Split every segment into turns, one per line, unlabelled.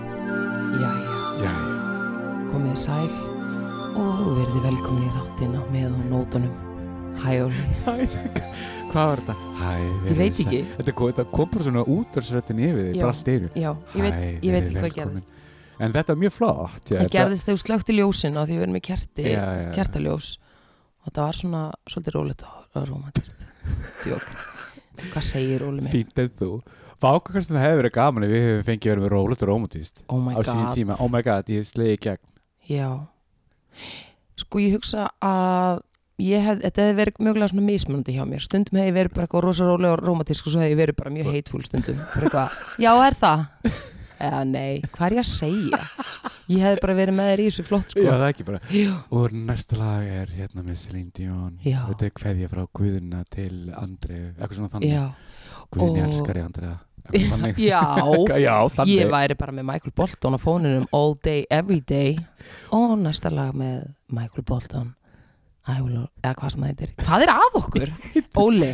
Jæja,
Já,
komið sæl og verði velkomin í þáttina með á nótunum. Hæ Óli,
já. Hvað var þetta? Hæ,
ég
verið
veit
sæl.
ekki,
Þetta kom, þetta kom bara svona útvarsröttin yfir þig,
Já.
bara allt yfir.
já, ég veit,
Hæ,
ég veit
verið
ekki hvað
velkomin.
gerðist.
En þetta er mjög flott. já,
Það
þetta-
gerðist þegar þú slökti ljósin á því við erum með kerti,
Já, já, já.
kertaljós og það var svona svolítið rólegt og romantist. Djók, hvað segir Óli mig?
Fínt en þú. Vákakast það hefur verið gaman ef við hefum fengið verið með rólut og rómutist.
Oh my
á sínum
god,
tíma. Oh my god, ég sleiði í gegn.
já. Sko ég hugsa að ég hef, þetta hefði verið mögulega svona mismunandi hjá mér. Stundum hefði ég verið bara eitthvað rosa rólega og romantísk og svo hefði ég verið bara mjög heitfúl stundum. Bara eitthvað, já er það? Eða nei, hvað er ég að segja? Ég hefði bara verið með þér í þessu flott sko.
Já, það er ekki bara.
Já.
Og næsta lag er hérna með Celine Dion.
Já.
Þetta er kveðja frá Guðuna til Andrið. Eitthvað svona þannig.
Já,
Guðin ég
Og-
elskar ég Andrið. Eitthvað þannig.
já.
Já, þannig.
Ég væri bara með Michael Bolton á fóninum all day, every day og næsta lag með Michael Bolton I will, eða hvað sem það heitir Hvað er að okkur? Óli,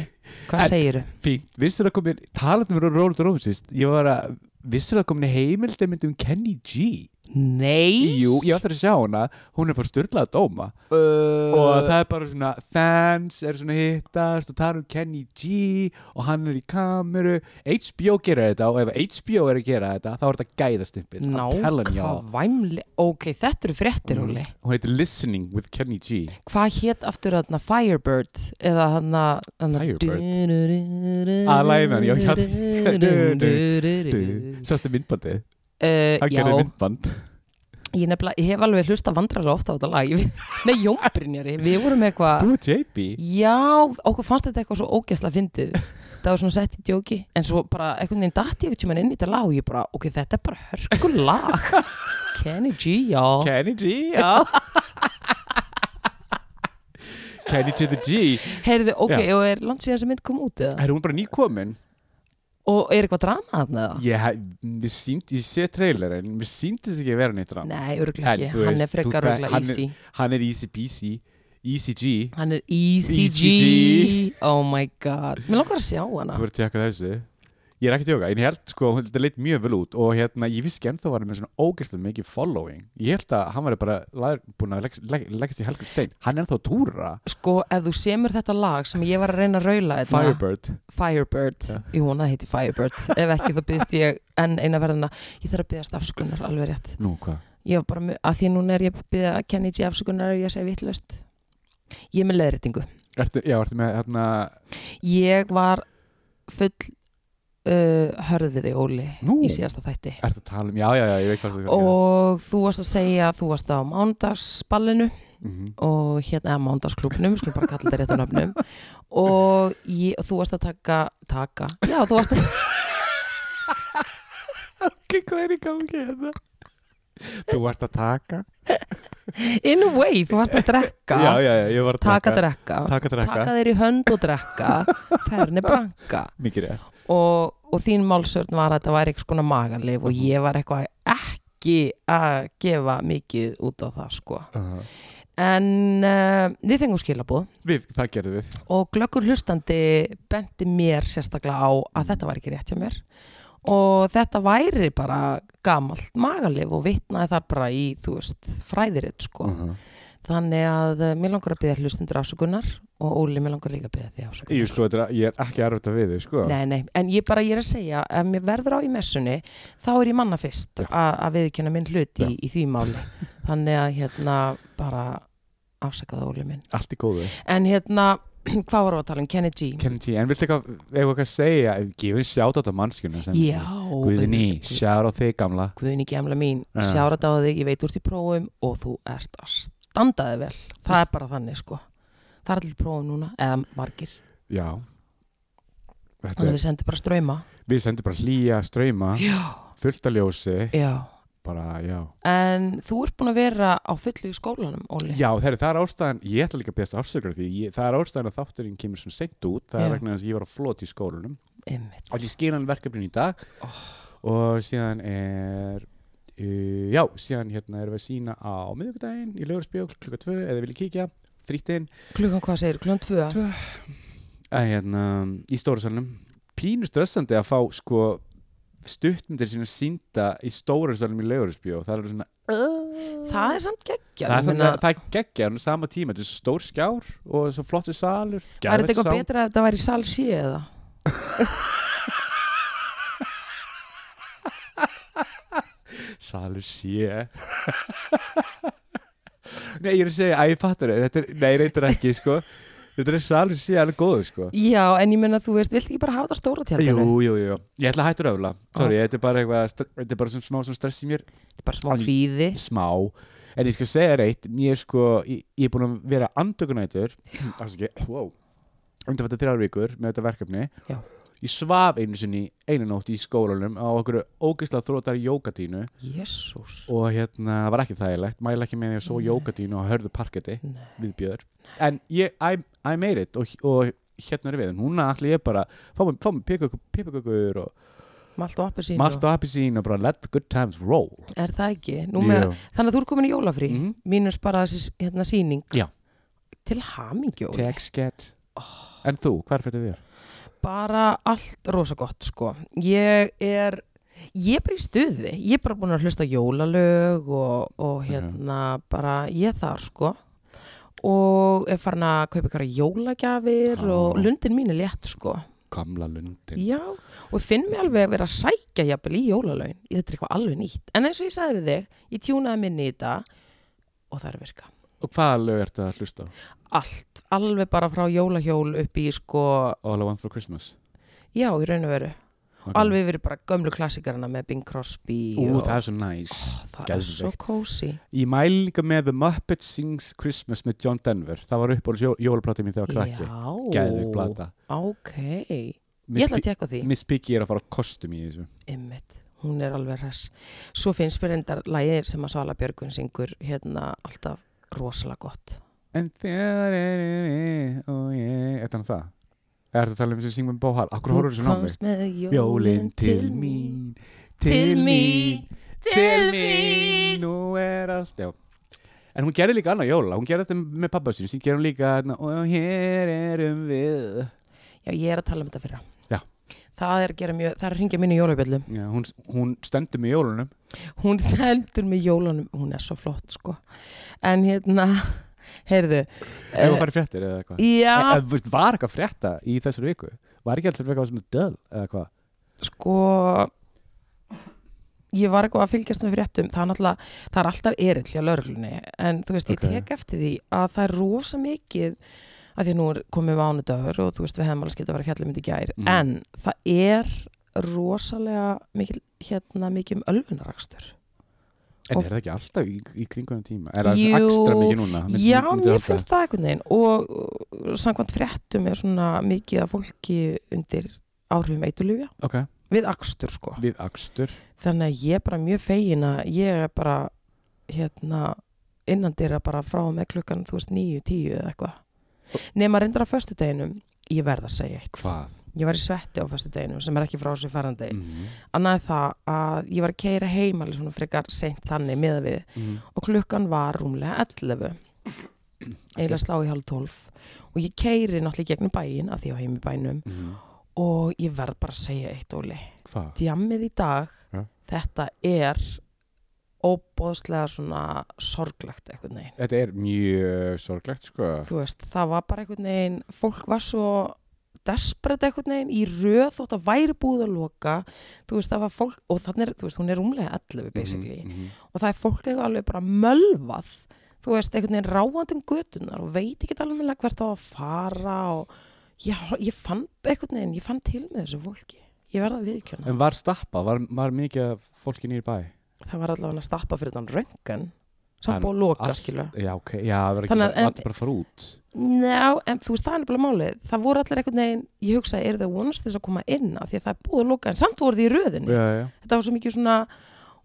hvað
En-
segiru?
Fínt, vissur það komin, talandum um Róald Rómsist, ég var að, vissur það komin heimildamind um Kenny G?
Nei
Jú, ég var eftir að sjá hana, hún er fór styrlaða dóma
uh,
og það er bara svona, fans er svona hittast og tala um Kenny G og hann er í kameru, HBO gerir þetta og ef HBO er að gera þetta, þá er þetta gæðastimpill, I'm telling y'all.
Nákvæmlega Ok, þetta eru fréttir, Óli
Hún heitir Listening with Kenny G.
Hvað hétt aftur þarna Firebird eða þarna, þarna Firebird
Að lagið með hann, já, já. Sástu myndbandið?
Uh,
Hann
já,
gerir myndband.
ég, nefnilega, ég hef alveg hlusta vandrarlega ofta á þetta lag Ég við- Nei, Jónbrinjari, við vorum með eitthvað
Þú og JB.
Já, okkur fannst þetta eitthvað svo ógæsla fyndið Það var svona sett í djóki En svo bara einhvern veginn datt ég eitthvað inn í þetta lag Og ég bara, ok, þetta er bara hörku lag Kenny G, já
Kenny G, já Kenny G the G
Heyrðu, ok,
Já.
og er langt síðan sem mynd kom út eða?
Er hún bara nýkomin?
Og er eitthvað drama þarna eða?
Ég, ég, sínd, ég sé trailerinn Mér síndist ekki að vera neitt rann
Nei, örglega
En,
ekki,
þú
hann
veist,
er frekar
þú-
örglega
hann er-
easy
Hann er Easy Peasy Easy G
Hann er
E
easy G
ECG.
Oh my god, mér langar að sjá hana
Þú verður tjekka þessu Ég er ekki að tjóka, en ég held sko, hún- þetta leitt mjög vel út og hérna, ég vissi ekki ennþá var hann með svona ógeðslega mikið following. Ég held að hann var bara lagður- búinn að legg- legg- leggast í helgur stein. Hann er ennþá að túra
Sko, ef þú semur þetta lag sem ég var að reyna að raula þetta
Firebird.
Firebird,
Já.
jú, hún það heiti Firebird Ef ekki þá byggðist ég enn eina verðina Ég þarf að byggðast afsökunar, alveg rétt
Nú, hvað?
Ég var bara, með- að því núna er ég að byggða Kenny G afsökunar ef ég segi vittlust Ég er með leðritingu
Ertu, já, ertu með hérna,
Ég var full uh, hörð við þig, Óli
nú,
í síðasta þætti
ertu að tala um, já, já, já, ég veit hvað þú
og þú varst að segja að þú varst á mándagsballinu
Mhm.
og hérna, eða mándagsklúpnum við skulum bara kalla þetta réttu nöfnum og ég, þú varst að taka taka, já þú varst að
Ok, hvað er í gangi hérna? Þú varst að taka
in a way, þú varst að drekka
Já, já, já, ég var að
taka
taka
drekka,
Taka drekka
taka þeir í hönd og drekka ferni branka
Mikið rétt
og, og þín málsörn var að þetta væri eitthvað skona maganleif og ég var eitthvað ekki að gefa mikið út á það sko en uh, við fengum skilabóð
Við, það gerðum við
og glöggur hlustandi benti mér sérstaklega á að þetta var ekki rétt hjá mér og þetta væri bara gamalt magalif og vitnaði það bara í, þú veist, fræðiritt sko.
Mhm.
Þannig að eh, mér langar að byggja hlustundur afsökunar og Óli, mér langar líka að byggja því afsökunar.
Ég sko, þetta er- ég er ekki erfitt að við þau, sko
Nei, nei, en ég bara, ég er að segja, ef mér verður á í messunni, þá er ég manna fyrst
Já.
að að viðkjöna minn hlut í, í því máli. Þannig að hérna bara afsakaða Óli minn.
Allt í góðu
En hérna, hvað vorum við að tala um? Kenny G?
Kenny T, en viltu eitthvað, eitthvað eitthvað að segja Gefum sjátt á þetta mannskjuna sem
Já.
Guðni, sjátt á þig gamla
Guðni gemla mín,
Já.
sjárat á þig, ég veit úr því prófum og þú ert að standa þig vel. Það er bara þannig sko. Það er allir prófum núna, eða margir.
Já Þetta
Þannig að
er,
við sendum bara ströyma.
við sendum bara hlýja, ströyma,
Já.
fullt að ljósi,
Já.
bara, já.
En þú ert búin að vera á fullu í skólanum, Óli.
Já, þeirri, það er ástæðan, ég ætla líka að beðast afsökunar því, ég, það er ástæðan að þátturinn kemur svona seint út, það
Já.
er vegna þess að ég var að flota í skólanum
Einmitt.
og ég skil hann verkefnin í dag
Oh.
og síðan er, uh, já, síðan hérna erum við að sína á miðvikudaginn í lögursbjó klukka 2 eða vilja kíkja, þrýtt inn
klukkan hvað segir, klukkan tvö
Tvö. að, hérna, í stóra salnum pínu stressandi að fá sko stuttmyndir sína sínda í stóra salnum í Leigurisbjó það er svona
það er samt geggjað ég
það, er
meina,
þarna, það er geggja, hann er sama tíma þetta er svo stór skjár og svo flottu salur
væri þetta
geðveikt
eitthvað
sound.
betra ef þetta væri í sal sé eða
Salur sé Nei, ég er að segja, að ég fattur þau Þetta er, nei, reyndar ekki, sko Þetta er salur sé alveg góður, sko
já, en ég menna þú veist, vilt ekki bara hafa þetta á stóra
Jú,
tjaldinu
jú, jú, ég ætla að hættur öfla Sorry, þetta er bara eitthvað, st- þetta er bara sem smá sem stress í mér
Þetta er bara smá hvíði
Smá, en ég skal segja reitt Ég er sko, ég, ég er búin að vera andökunætur Afsaki, wow Undanfættu þrjár vikur með þetta verkefni
Já.
Ég svaf einu sinni, einu nótt í skólanum Á okkur ógeðslega þrótar jókatínu
jésús
og hérna, það var ekki þægilegt mæla ekki með því að svo
Nei.
jókatínu og hörðu parketti
Nei.
við Björ en ég, I, I made it og, og hérna er við, en núna ætla ég bara fá mér- fá mig pipakökur og
malt og appelsín
malt og appisín og bara let good times roll
er það ekki, Nú með,
Jú.
þannig að þú er komin í jólafrí
Mhm.
mínus bara þessi hérna síning
Já.
til hamingjóli
text get en þú, hvað er fyrir þér?
bara allt rosa gott sko ég er ég er bara í stuði, ég er bara búin að hlusta á jólalög og, og hérna bara ég er þar sko og er farin að kaupa ykkur jólagjafir
Já.
og lundin mín er létt sko
Gamla lundin
já, og ég finn mig alveg að vera að sækja jafnvel í jólalögin, þetta er eitthvað alveg nýtt en eins og ég sagði við þig, ég tjúnaði minni í þetta og það er að virka
og hvaða lög ertu að hlusta á?
allt, alveg bara frá jólahjól upp í sko,
All I Want For Christmas
já, í raun og veru
okay.
alveg verið bara gömlu klassikarana með Bing Crosby
Ú,
og
það er svo næs
það er svo
geðveikt.
kósi
Ég mæli líka með The Muppet Sings Christmas með John Denver það var upp á jólaplatið mín þegar ég var krakki Gæðvig
Já,
blata
ok Ég
Miss
ætla að tjekka á því
Pi- Miss Piggy er að fara á kostum í þessu
Einmitt, hún er alveg hress Svo finnst mér endar lægið sem að Svala Björgun syngur hérna alltaf rosalega gott
En þegar er ég og ég Þetta er það Eða Er þetta talað um sem syngum bóhal? Akkur horfur þessu námi?
með
Jólin til mín Til mín Til mín Nú er allt Já En hún gerði líka annað jóla, hún gerði þetta með pappa sinu, sín gerði hún líka, hérna, og hér erum við.
Já, ég er að tala um þetta fyrra
Já.
Það er að gera mjög, það er að ringja mínu jólabjöllum
Já, hún, hún stendur með jólunum.
hún stendur með jólunum hún er svo flott sko en hérna, heyrðu
Ef hún
eh,
farið fréttir eða eitthvað.
já,
En, þú veist, var eitthvað frétta í þessari viku? Var ekki alltaf eitthvað sem er döð eða hvað?
sko ég var eitthvað að fylgjast með fréttum það er náttúrulega, það er alltaf erill hjá lögreglunni en þú veist, ég
Ok.
tek eftir því að það er rosa mikið að því að nú er komið mánudagur og þú veist, við hefum alveg skilt að vera fjallum í gær
Mhm.
en það er rosalega mikil, hérna, mikið um ölfunarakstur
En
Og-
er það ekki alltaf í, í kringunum tíma? Er það
Jú,
ekstra mikið núna?
Já, mér finnst það einhvern veginn og uh, samkvæmt fréttum er svona mikið að fólki undir áhrifum eitulifja
Ok,
við akstur sko.
við akstur
Þannig að ég er bara mjög fegin að ég er bara hérna innan dyrra bara frá og með klukkan þú veist 9, 10 eða eitthvað. Nei, maður reyndar á föstudeginum, ég verð að segja eitt.
Hvað?
Ég var í svetti á föstudeginum sem er ekki frá þessu farandi. Mm.
Mm
Annað en það að ég var að keira heim alveg svona frekar seint þannig miða við
-hmm.
og klukkan var rúmlega 11 eiginlega slá í halv 12 og ég keiri náttúrulega í gegnum bæin af því á heimi bænum og ég verð bara að segja eitt óli
mm, Hvað?
djammið í dag,
Ja.
þetta er óbóðslega svona sorglegt einhvern veginn
Þetta er mjög sorglegt sko
þú veist, það var bara einhvern veginn fólk var svo desperate einhvern veginn í röð þótt að væri búið að loka þú veist, það var fólk, og þannig er, þú veist, hún er rúmlega 11 basically,
Mhm, mhm.
og það er fólk eitthvað alveg bara mölvað þú veist, einhvern veginn ráðandi um götunar og veit ekki alveg hvert á að fara og ég, ég fann einhvern veginn, ég fann til með þessu fólki ég verða að viðkjöna,
En var stappa? Var, var mikið af fólki nýr bæ?
það var allavega að stappa fyrir þann röngan
En
samt búið að loka,
allt-
skilur
Já, ok, já, það var ekki
Þannig að-
bara, allir bara að fara út
Njá, en þú veist, það er nefnilega málið það voru allir einhvern veginn, ég hugsaði, eru þau vonast til þess að koma inn af því að það er búið að loka, en samt voru þið í röðinni
Já, já,
þetta var svo mikið svona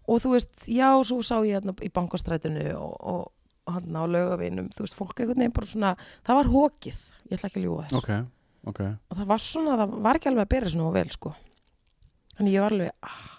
og þú veist, já, svo sá ég hérna í bankastrætinu og, og, og hann á laugavinum, þú veist, fólk einhvern veginn bara svona það var hókið, ég ætla ekki að ljúga þess
ok, ok
og það var svona, það var ekki alveg að bera svona og vel, sko þannig ég var alveg, ah,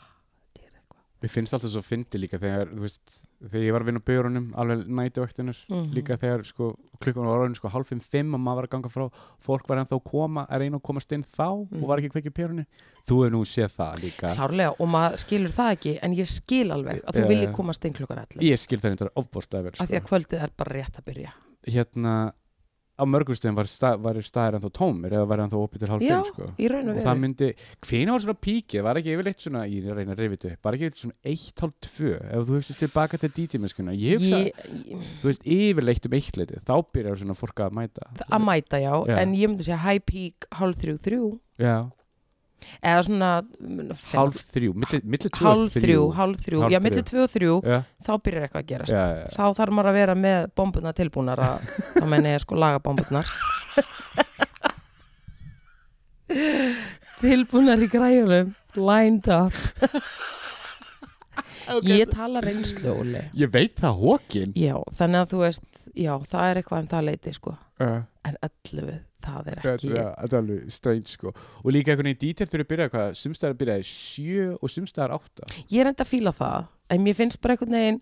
Mér finnst alltaf svo fyndi líka þegar, þú veist þegar ég var að vinna á björunum alveg nætuvöktunar
Mhm.
líka þegar sko, klukkan var orðin sko, hálf fimm fimm og maður var að ganga frá fólk var ennþá að koma að reyna að komast inn þá og var ekki að kveikja pjörunni þú hefur nú séð það líka
Mhm. klárlega og maður skilur það ekki en ég skil alveg að þú
Já,
vilji
já.
komast inn klukkan 11
ég skil það þetta ofbóðstæði vel
af því
sko.
að kvöldið er bara rétt að byrja
hérna á mörgum stöðum var, stað, var staðir ennþá tómir eða var ennþá opið til hálf
Já,
fimm sko.
í raun og
og það
veru
myndi, hvina var svona píkið var ekki yfirleitt svona, ég reyna að reyfi þetta upp var ekki yfirleitt svona 1.5 ef þú hugsa tilbaka til dítimennskuna ég hugsa,
Ég- ég-
þú veist, yfirleitt um eitt leiti þá byrjar svona fólk að mæta
að mæta já,
Já.
en ég myndi segja high peak hálf þrjú þrjú
já,
eða svona mm, fimm-
hálf þrjú, milli, milli tvö og
hálf þrjú, hálf þrjú,
Hálf
já milli
þrjú.
tvö og þrjú
já,
þá byrjar eitthvað að gerast
já, já,
þá þarf maður að vera með bombuna tilbúnar að, þá menna ég sko laga bombunar tilbúnar í græjunum lined up ég tala reynslu Óli
ég veit það hókin
já, þannig að þú veist, já, það er eitthvað um það leiti sko,
uh,
en 11 það er
þetta
ekki
er þetta er alveg strange sko og líka einhvern veginn dítir þurfi að byrja hvað sumstæðar byrjaði sjö og sumstæðar átta
ég er enda að fíla það, en mér finnst bara einhvern veginn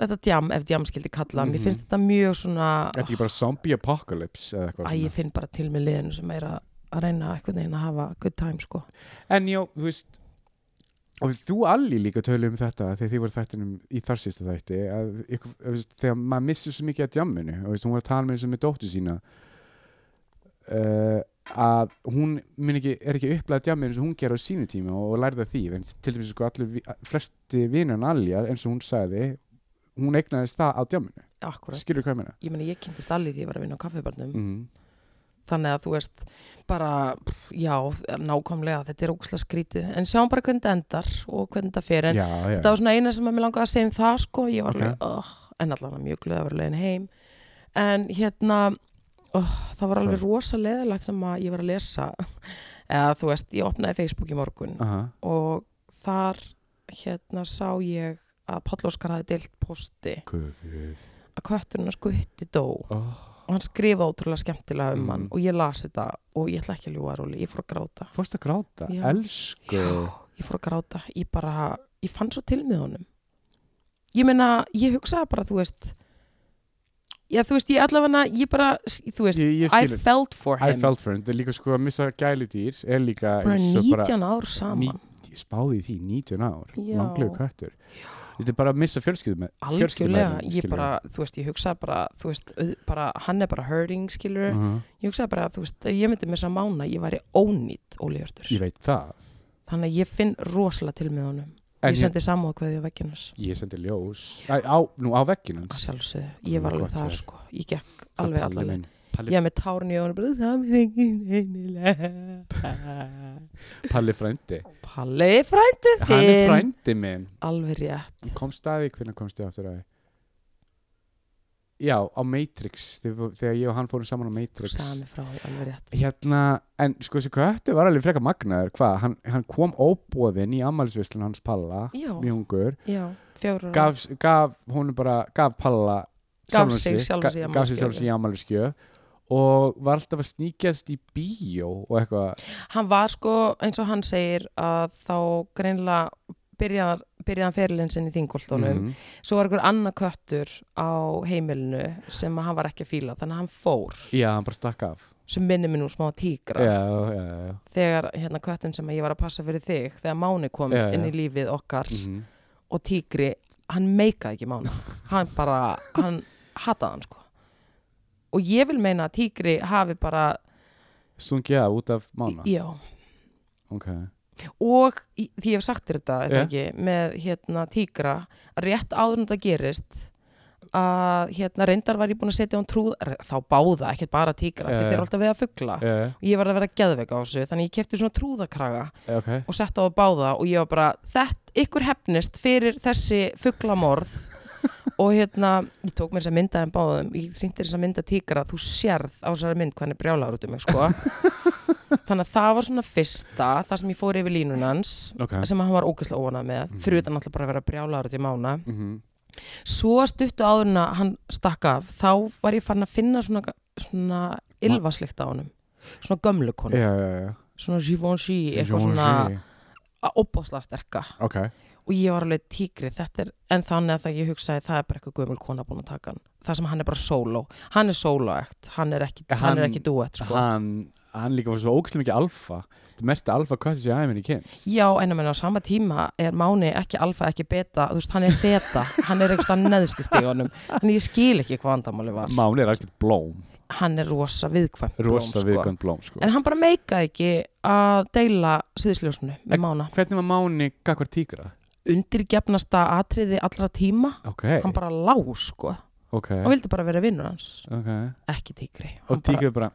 þetta djam, ef djam skildi kalla mér
Mhm.
finnst þetta mjög svona
þetta er ekki bara zombie apocalypse eða eitthvað
að
svona.
ég finn bara til með liðinu sem er að, að reyna einhvern veginn að hafa good time sko.
En já, þú veist og þú allir líka tölu um þetta þegar þið voru þættinum í þar sísta þætti að ykkur, að, þú veist, þegar maður missir svo mikið að djamminu og þú veist, hún var að tala með þessu með dóttu sína uh, að hún mun ekki, er ekki upplæð djamminu eins og hún gerði á sínu tíma og, og lærði af því en til dæmis sko allir vi- flesti vinan allir eins og hún sagði hún eignaðist það á djamminu,
Akkurat.
skilur hvað ég meina
Ég meni, ég kynntist allir því ég var að vinna á kaffibarnum.
mm
Þannig að þú veist, bara, pff, já, nákvæmlega, þetta er ógslag skrítið. En sjáum bara hvernig þetta endar og hvernig þetta fer. En
Já, já,
þetta var svona eina sem að mér langaði að segja um það, sko. Ég var
Ok.
alveg, oh, en allan mjög glöða að vera leiðin heim. En hérna, oh, það var alveg
Sorry.
rosa leðilegt sem að ég var að lesa. Eða þú veist, ég opnaði Facebook í morgun
Aha,
og þar, hérna, sá ég að Páll Óskar hafði deilt posti
guðið
að kötturinn hans Gutti dó
oh,
og hann skrifa ótrúlega skemmtilega um
Mhm.
hann og ég las þetta og ég ætla ekki að ljúga róli, ég fór að gráta
Fórst að gráta,
Já.
elsku
ég fór að gráta, ég bara ég fann svo til með honum ég meina, ég hugsaði bara, þú veist já, þú veist, ég allavega ég bara, þú veist,
Ég, ég
I
skilur
felt for
I
him
felt for him, þetta er líka sko að missa gæludýr er líka
bara
eins og
19 ár saman
Ný- spáði í því 19 ár,
Já.
langlegu kvættur þetta er bara að missa fjölskyldum
algjörlega, ég bara, þú veist, ég hugsaði bara þú veist, auð- bara, hann er bara hurting skilur,
Mm. Mhm,
ég hugsaði bara, þú veist, ef ég myndi missa mána, ég væri ónýtt ólegjörtur,
ég veit það
þannig að ég finn rosalega til með honum
en
ég sendi samúð kveðið á vegginnars
ég, ég sendi ljós Æ, á, nú á vegginans
að sjálfsögðu, ég var
Guð,
alveg
gott
þar
er.
sko ég gekk alveg allar leið
Palli,
ég var með tárn í öðunum bara það er engin heinilega
Palli frændi
Palli frændi
hann er
þinn
frændi minn
alveg rétt
komst að því hvernig komst þið aftur að því já, á Matrix þegar þegar ég og hann fórum saman á Matrix
sami frá því, alveg rétt
hérna, en sko þessi köttu var alveg freka magnaður, hvað, hann, hann kom óbóðin í ammælisvislun hans Palla
já,
mjög ungur,
já, fjórar ára.
gaf, gaf hún bara, gaf Palla
Gaf
sjálfan
sig sjálfan
ga-
sig í
gaf sig sjálf
afmælisgjöf,
sig í ammælisgjöf og var alltaf að sníkjast í bíó og eitthvað,
hann var sko eins og hann segir að þá greinlega byrjaðan byrjaðan ferilinn sinn í þingoltónum
Mhm.
svo var einhver annar köttur á heimilinu sem að hann var ekki að fíla þannig að hann fór
já, hann bara stakk af
sem minnir mig nú smá á tígra
já, já, já,
þegar hérna köttin sem ég var að passa fyrir þig þegar Máni kom
Já, já.
inn í lífið okkar
mm -hmm.
og tígri, hann meikaði ekki Mána hann bara, hann hataði hann sko og ég vil meina að tígri hafi bara
stungi af út af mána
já,
ok,
og í, því ég hef sagt þér þetta er það
Já.
ekki, með hérna tígra að rétt áður en þetta gerist að hérna reyndar var ég búin að setja hann trúð þá báða, ekkert bara tígra
Já,
því
já.
þeir eru alltaf við að fugla
já, já,
og ég var að vera geðveika á þessu þannig ég kefti svona trúðakraga
ok
og sett á að báða og ég var bara þetta ykkur hefnist fyrir þessi fugglamorð og hérna ég tók mér þess að mynda þeim báðum ég sýndi þess að mynda tíkara þú sérð á þessari mynd hvað hann er brjálaður út um mig sko þannig að það var svona fyrsta það sem ég fór yfir línun hans
ok,
sem hann var ógeðslega óanað með
Mhm.
fyrir utan alltaf bara að vera brjálaður út í mána
mm -hmm.
svo stuttu áður en að hann stakk af þá var ég farin að finna svona, svona ylfaslikt á honum svona gömlu konu
já, já, já
svona Givenchy eitthvað svona
Jean G.
óbáslega sterka
ok,
og ég var alveg tígri þetta er, en þannig að það ég hugsaði það er bara eitthvað gömul kona búin að taka hann það sem hann er bara sóló, hann er sólóægt hann er ekki,
Ja,
hann, er
hann-
ekki duett sko.
hann, hann líka var svo ógæslega mikið alfa þetta er mesta alfa hvað þessi aðeins kemst
já, en að menna á sama tíma er Máni ekki alfa, ekki beta, þú veist, hann er þeta hann er eitthvað neðst í stígunum þannig ég skil ekki hvað andamáli var
Máni er alveg blóm,
hann er rosa viðkvæmt blóm,
rosa viðkvæmt blóm sko.
en hann bara meikaði ekki að deila síðisljósunu
En-
með Mána
hvernig var Máni gagvar tígra?
undirgefnasta atriði allra tíma
ok,
hann bara lá sko
ok,
hann vildi bara vera vinnur hans
ok
ekki tígri
og
hann, bara,
tígra bara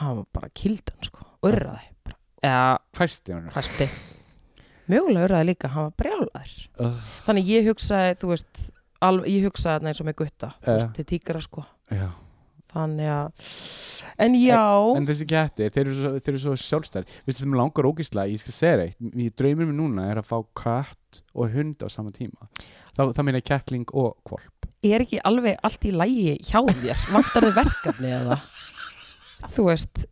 hann var bara kildan sko urraði bara. eða
fæsti hann
hvasti mjögulega urraði líka, hann var brjálaður
Ugh.
þannig ég hugsaði, þú veist alv, ég hugsaði þarna eins og með gutta þú
Eh.
veist, til tígra sko
Já.
þannig að, en já
en þessi kettir, þeir eru svo, þeir eru svo sjálfstæð veistu, þeim langar ógislega, ég skal segja reitt ég draumir mér núna er að fá katt og hund á sama tíma þá, þá meina ég kettling og kvolp
er ekki alveg allt í lægi hjá þér vantar þið verkefni eða þú veist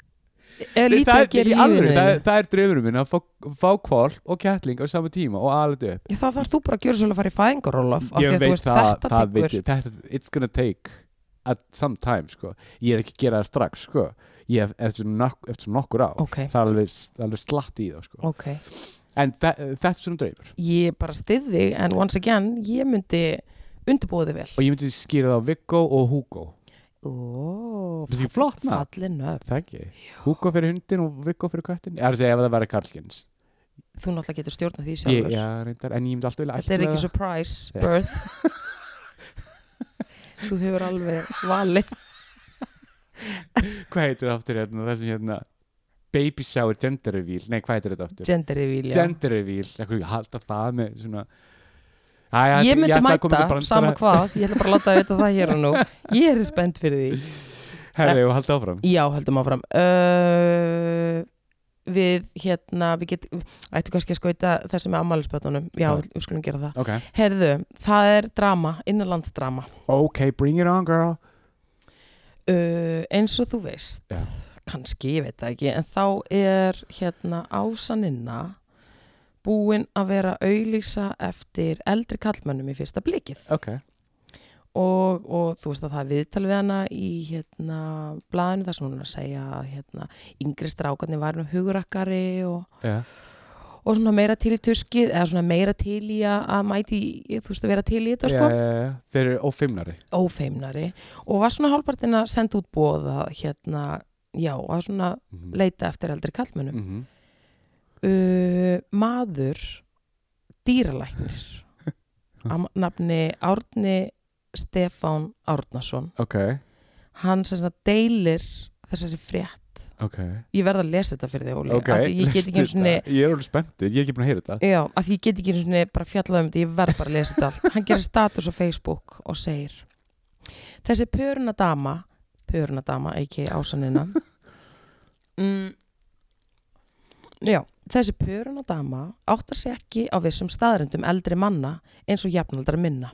eða
Nei,
lítið
það,
að
er-
gera
í
í
alvöru,
lífinu
það,
það,
er- það er draumurinn minn að fá, fá kvolp og kettling á sama tíma og alveg upp
það þarf þú bara að gjöra svolítið að fara í fæðingar Ólaf, af því
ég
að þú
veit
veist,
það,
þetta
það
tekur-
veit ég þetta, it's gonna take at some time sko. ég er ekki að gera það strax sko. ég hef eftir, nok eftir nokkur á
ok,
það er alveg, alveg slatt í það sko.
ok
en þe- þetta er svona draumur
ég bara styði, en once again ég myndi undirbúa þig vel
og ég myndi skýra það á Viggo og Hugo
Ó,
Finnst ekki flott nafn?
fallin nöfn
það ekki, Hugo fyrir hundin og Viggo fyrir köttin ég er að segja ef það væri Karlkins
þú náttúrulega getur stjórnað því
ég,
sjálfur
já, reyndar, en ég myndi alltaf vilja
þetta er
ættleiða-
ekki surprise
Já.
birth þú hefur alveg valið
hvað heitir það aftur hérna, það sem hérna baby shower gender reveal, nei hvað heitir þetta aftur
gender reveal já.
gender reveal, eitthvað ég halda það með svona Æ, ætla-
ég myndi
ætla að koma með
mæta,
brandara.
sama hvað ég ætla bara að láta að vita það hér og nú ég er spennt fyrir því Eh.
herri, og halda áfram
já, höldum áfram uh, við hérna við get, ættu kannski að skoita þessu með ammælisbötunum, já,
Já.
við skulum gera það
ok,
herðu, það er drama, innanlandsdrama
ok, bring it on girl
uh, eins og þú veist
Já.
kannski, ég veit það ekki en þá er hérna ásaninna búin að vera auðlýsa eftir eldri kallmönnum í fyrsta blikið
ok,
og, og þú veist að það er viðtal við hana í hérna blaðinu þar sem hún er að segja að hérna yngri strákarnir var nú hugurakkari og,
já,
og svona meira til í tuskið eða svona meira til í að, að mæti í- þú veist að vera til í þetta
já,
sko
já, já. Eh, þeir eru ófimnari
ófeimnari og var svona hálfpartin að senda út bóða hérna já að svona
Mhm.
leita eftir eldri kallmönnum
Mhm.
uh, maður dýralæknir að nafni Árni Stefán Árnason
ok,
hann sem sagt deilir þessari frétt
ok
ég verð að lesa þetta fyrir þig Óli
ok,
af því ég get
lestu
ekki einu sinni
þetta. ég er alveg spenntur, ég er ekki búin að heyra þetta
já, af því ég get ekki einu sinni bara fjallað um þetta ég verð bara að lesa þetta allt hann gerir status á Facebook og segir þessi pöruna dama pöruna dama, ekki ásanina mm, já þessi pöruna dama áttar sig ekki á vissum staðrendum eldri manna eins og jafnaldra minna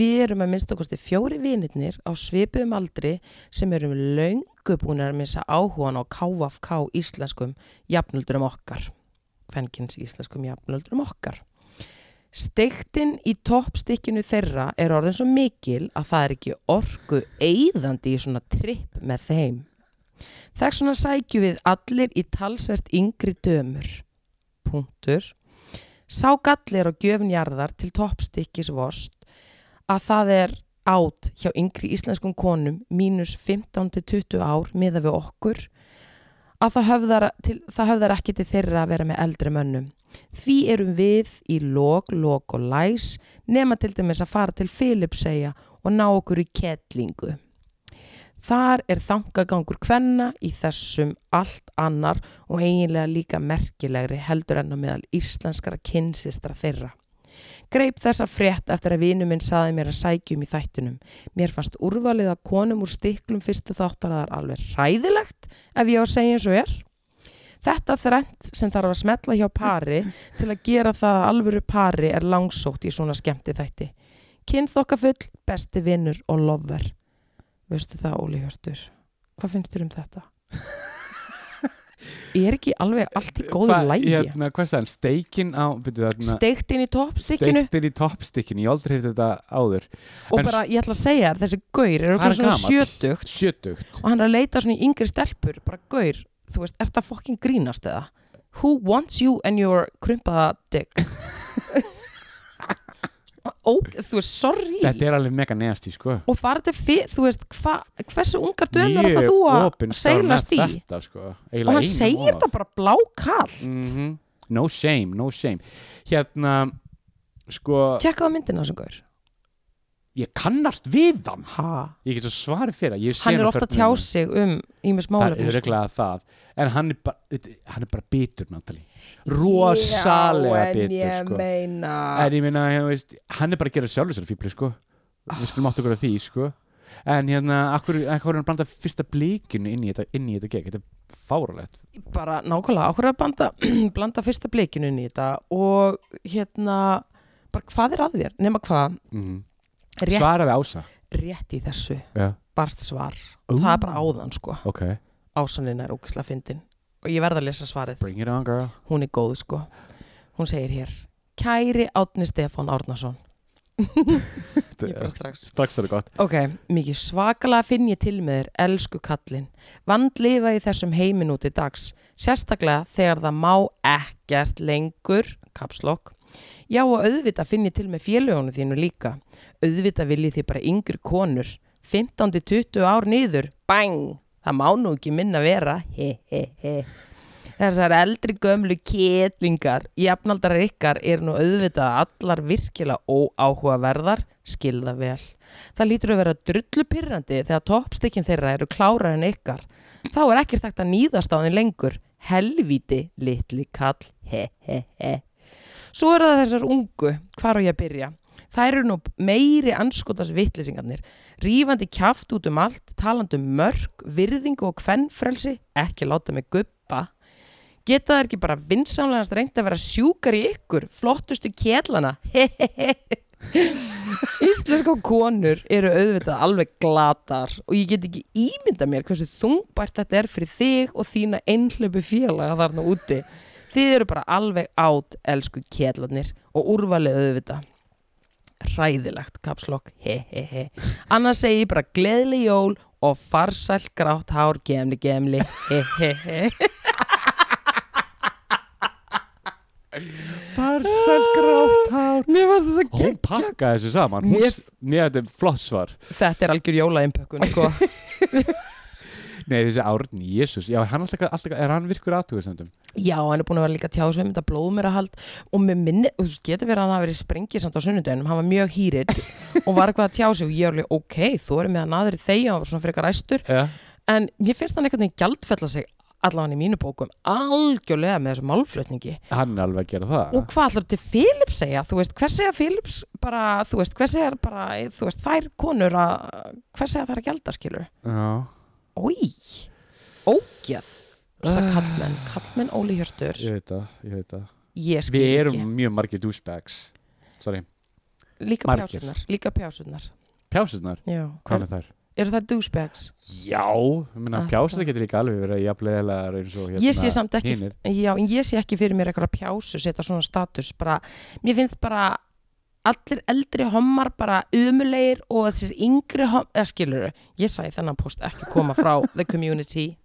Við erum að minnst okkusti fjóri vinirnir á svipuðum aldri sem erum löngu búin að missa áhugan á KFK íslenskum jafnöldurum okkar. Kvenkins íslenskum jafnöldurum okkar. Steiktin í toppstikkinu þeirra er orðin svo mikil að það er ekki orku eigðandi í svona tripp með þeim. Þess svona sækjum við allir í talsvert yngri dömur. Punktur. Sá gallir á gjöfnjarðar til toppstikkis vorst að það er átt hjá yngri íslenskum konum mínus 15-20 ár miða við okkur að það höfðar, til, það höfðar ekki til þeirra að vera með eldri mönnum. Því erum við í lok, lok og læs nema til dæmis að fara til Filipseyja og ná okkur í kettlingu. Þar er þangagangur kvenna í þessum allt annar og eiginlega líka merkilegri heldur enn á meðal íslenskara kynsistra þeirra. Greip þessa frétt eftir að vinu minn saði mér að sækjum í þættunum. Mér fannst úrvalið að konum úr stiklum fyrstu þáttaraðar alveg hræðilegt ef ég á að segja eins og er. Þetta þrennt sem þarf að smetla hjá pari til að gera það að alvöru pari er langsótt í svona skemmti þætti. Kynþokkafull, besti vinnur og lover. Veistu það, Óli Hjörtur? Hvað finnst þér um þetta? er ekki alveg allt í góðu
Hvað-
lægi
Hérna, hvað er það, steikin á byrju, hérna,
steikt inn í toppstykkinu
Steiktin í toppstykkinu, ég hef aldrei hefði þetta áður
og
en-
bara ég ætla að segja þér, þessi gaur er
Hvað er
okkur svona
gamall?
sjötugt
Sjötugt
og hann er að leita svona í yngri stelpur bara gaur, þú veist, ert það fokkin grínast eða? Who wants you and your krumpaða dick? Ó, þú veist, sorry
Þetta er alveg mega neðast í sko
og farið til fyrir, þú veist, hva, hversu ungar dömur ætla þú að
opinskár
seilast í
með þetta, sko.
og hann segir þetta bara blákallt
mm No shame, no shame Hérna, sko
tjekka á myndina sem gaur
Ég kannast við hann
ha.
Ég get svo svarið fyrir það, ég sé
hann er
hann á
ofta að tjá
förnum.
sig um ímis
Það
málefni
er reglega það En hann er bara, hann er bara bitur náttúrulega Rosalega bitur sko
meina
En ég meina, hérna, veist, hann er bara að gera sjálfur sér fíbli, sko. Við skulum átt okkur að því, sko. En hérna, akkur, akkur er hann að blanda fyrsta blíkinu inn í þetta, inn í þetta gegn. Þetta er fáralegt.
bara nákvæmlega okkur að blanda, blanda fyrsta blikinu inn í þetta og hérna bara hvað er að þér, nema hvað
Mm
rétt,
Svaraði Ása.
rétt í þessu
Já,
barst svar,
Ú.
það er bara áðan sko
ok.
ásanina er ógislega fyndin og ég verð að lesa svarið,
Bring it on, girl.
hún er góð sko hún segir hér Kæri Átni Stefán Árnason Ég bara strax.
Strax er það gott.
Ok, mikið svakalega finn ég til með þér, elsku kallinn. Vand lifa í þessum heimin út í dags, sérstaklega þegar það má ekkert lengur, kapslokk. Já og auðvitað finn ég til með félögunu þínu líka. Auðvitað viljið þið bara yngri konur, 15-20 ár niður, bang, það má nú ekki minna vera, he he he. Þessar eldri gömlu kétlingar, jafnaldar ykkar eru nú auðvitað allar virkilega óáhugaverðar, skilða vel. Það lítur að vera drullu pyrrandi þegar toppstykkin þeirra eru klárar en ykkar. Þá er ekkert hægt að nýðast á þeim lengur. Helvíti, litli kall, he he he. Svo eru það þessar ungu, hvar á ég að byrja? Það eru nú meiri anskotas vittlisingarnir, rífandi kjaft út um allt, talandi um mörk, virðingu og kvennfrelsi, ekki láta mig guppa. Geta það ekki bara vinsamlegast reynd að vera sjúkar í ykkur, flottustu kjellana, he he he. Íslenska konur eru auðvitað alveg glatar og ég get ekki ímynda mér hversu þungbært þetta er fyrir þig og þína einhlöpu félaga þarna úti. Þið eru bara alveg átt, elsku kjellarnir og úrvalið auðvitað. Ræðilegt kapslokk, he he he. Annars segi ég bara gleðli jól og farsælt grátt hár, gemli gemli, he he he.
Farsæl grátt hár.
Mér fannst þetta
Hún pakkaði þessu saman. Hún,
Mér-
s- Mér, þetta er flott svar.
Þetta er algjör jólaimpökkun, sko.
Nei, þessi árni, jésus. Já, hann alltaf, alltaf, er hann virkur aðtugastendum?
Já, hann er búin að vera líka að tjá sig um þetta blóðmerahald og með minni, þú veist, getur verið að hann hafa verið sprengið samt á sunnundagunum, hann var mjög hýrit og var eitthvað að tjá sig og ég er alveg, ok, þú erum með að naður í þegja og var svona frekar æstur
Já.
en mér finnst hann einhvern veginn gjaldfella sig allavega í mínu bókum, algjörlega með þessum málflutningi
Hann er alveg að gera það.
og hvað allar til Philips segja, þú veist, hvers segja Philips bara, þú veist, hvers segja bara, þú veist, þær konur að, hvers segja þær að gjalda, skilur?
Já.
Ói, ógjöð, kallmenn, kallmenn Óli Hjörtur,
Ég veit það, ég veit það.
ég skil
Við erum
ekki.
mjög margir douchebags Sorry,
Líka
Margir.
pjásunar, líka pjásunar
pjásunar,
Já,
hvað er þær?
eru það douchebags?
Já, ég meina
Ah,
pjásunar
það.
getur líka alveg verið jafnlega eins og hérna
Ég sé samt ekki,
hinir.
já, en ég sé ekki fyrir mér eitthvað pjásu, setja svona status bara, mér finnst bara allir eldri hommar bara umulegir og þessir yngri hommar, eða skilur ég sagði þennan post ekki koma frá the community,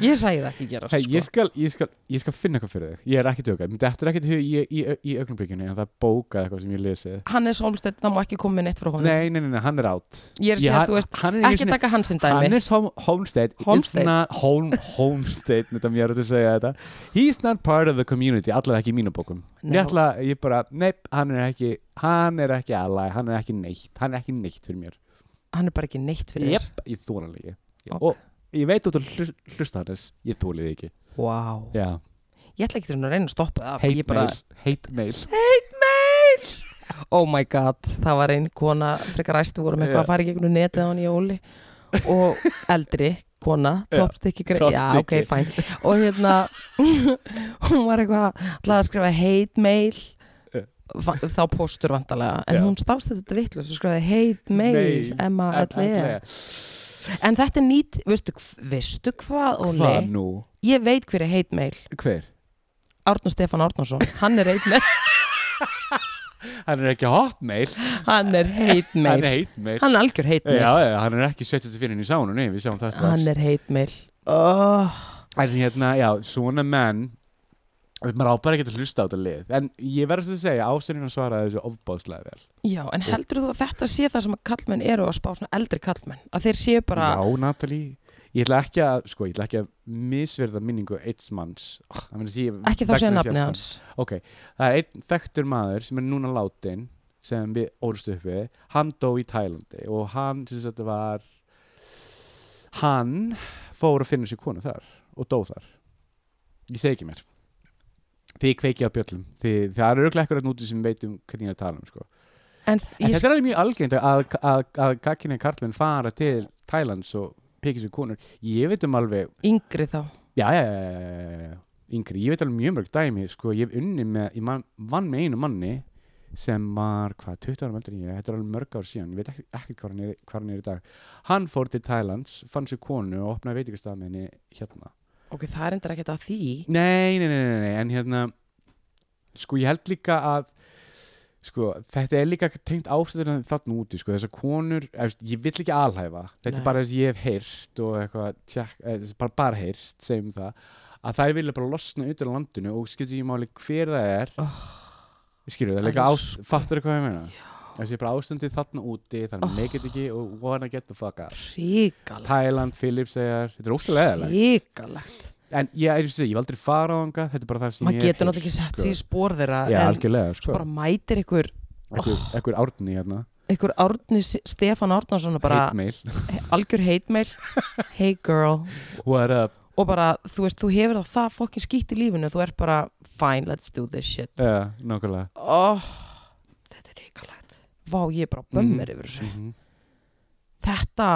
ég sagði það ekki gera,
Hey,
sko
ég, skal, ég, skal, ég skal finna eitthvað fyrir þig Ég er ekki tjóka, þetta er ekki tjóka í, í, í augnablikinu en það er bókað eitthvað sem ég lesið
Hannes Holmstedt, það má ekki koma með neitt frá honum
Nei, nei, nei, nei, hann er átt
Ég er að segja, þú veist,
hann er
ekki taka hans sem dæmi
Hannes Hol- Holmstead
Holmstead.
is not Holm, Holmstead, þetta mér er að segja þetta He's not part of the community, allavega ekki í mínum bókum
Nei.
Ég ætla, ég bara, nei, hann er ekki hann er ekki ally, hann er ekki neitt hann er ekki neitt fyrir mér
Hann er bara ekki neitt fyrir þér
Jep, ég þóla hann ekki
Ok.
Og ég veit út að hlusta hannes ég þóli þig ekki
Vá,
Já,
ég ætla ekki til að reyna að stoppa það
hate
ég bara,
mail, hate mail
hate mail oh my god, það var ein kona frekar æstu vorum eitthvað að fara í gegnum netið á hann í óli og eldri kona,
Já,
toppstykki grei- já, ok,
toppstykki.
fæn og hérna, hún var eitthvað ætlaði að skrifa hate mail
Já.
va- þá póstur vantarlega en
Já.
hún stást þetta vittlust og skrifaði hate mail,
Mail,
M-A-L-E
Alla-
en þetta er nýtt, veistu, hv- veistu hvað Óli,
Hvað nú?
ég veit hver er heitmeil
Hver?
Árnur Stefán Árnarsson, hann er heitmeil
Hann er ekki hotmail
hann er
Hann
heitmeil,
er heitmail
hann er algjör heitmeil
Já, já, hann er ekki 74 í sánunni Við sjáum það strax
hann er heitmeil oh,
En hérna, já, svona menn maður á bara ekki að hlusta á þetta lið en ég verðast að segja, ásynina svaraði þessu ofbáðslega vel
já, en heldur þú að þetta sé það sem að kallmenn eru að spá svona eldri kallmenn að þeir séu bara,
Já, Natalie, ég ætla ekki að sko, ég ætla ekki að misverða minningu eitt manns oh,
ekki þá sé nafnið hans
Ok, það er einn þekktur maður sem er núna látin sem við orðstu upp við hann dó í Tælandi og hann sem sagt var hann fór að finna sér konu þar og dó þar ég segi ekki mér því kveiki á bjöllum því það eru auðvitað ekkur að núti sem veit um hvernig ég er að tala um sko.
en
en
ég
þetta er alveg mjög algengt að, að, að kakkinni karlmenn fara til Tælands og pekja sér konur ég veit um alveg
yngri þá
já, já, já, já, já, já, yngri, ég veit alveg mjög mörg dæmi, sko, ég hef unni með, ég man, vann með einu manni sem var, hvað, 20 ára meldur en ég, þetta er alveg mörg ár síðan, ég veit ekkert ekki hvað hann, er, hvað hann er í dag. Hann fór til Thailands, fann sér konu og opnaði veitingastað með henni hérna.
ok, það er endur ekkert að því
Nei, nei, nei, nei, nei, en hérna, sko, ég held líka að, sko, þetta er líka tengt ástæðurinn þarna úti, sko, þessar konur, ég, veist, ég vill ekki alhæfa, þetta
Nei.
er bara þess að ég hef heyrt og eitthvað, tjekk, eh, þess- bara, bara heyrt, segjum það, að þær vilja bara losna utan á landinu og skiptir ég máli hver það er
Oh.
skilur það líka
Elsku.
ást, fattur hvað ég meina þess að ég er bara ástandið þarna úti þannig oh. make it ekki og wanna get the fuck out
ríkalegt
Thailand, Philipseyjar, þetta er ótrúlega eðalegt
ríkalegt
en ég, ég, ég, ég var aldrei fara á hanga þetta er bara það sem
maður
ég sko.
getur náttúrulega ekki sett sér í spór þeirra
já,
en
algjörlega,
svo
sko,
bara mætir ykkur,
ekkur, ekkur árni hérna,
ykkur Árni Stefán Árnarsson og bara
heitmail
algjör heitmeil hey girl
what up,
og bara, þú veist, þú hefur það það fokkin skýtt í lífinu, þú ert bara fine, let's do this shit
já, uh, nákvæmlega
oh, þetta er ríkalegt vá, ég er bara bömmir
Mhm.
yfir þessu
mm
þetta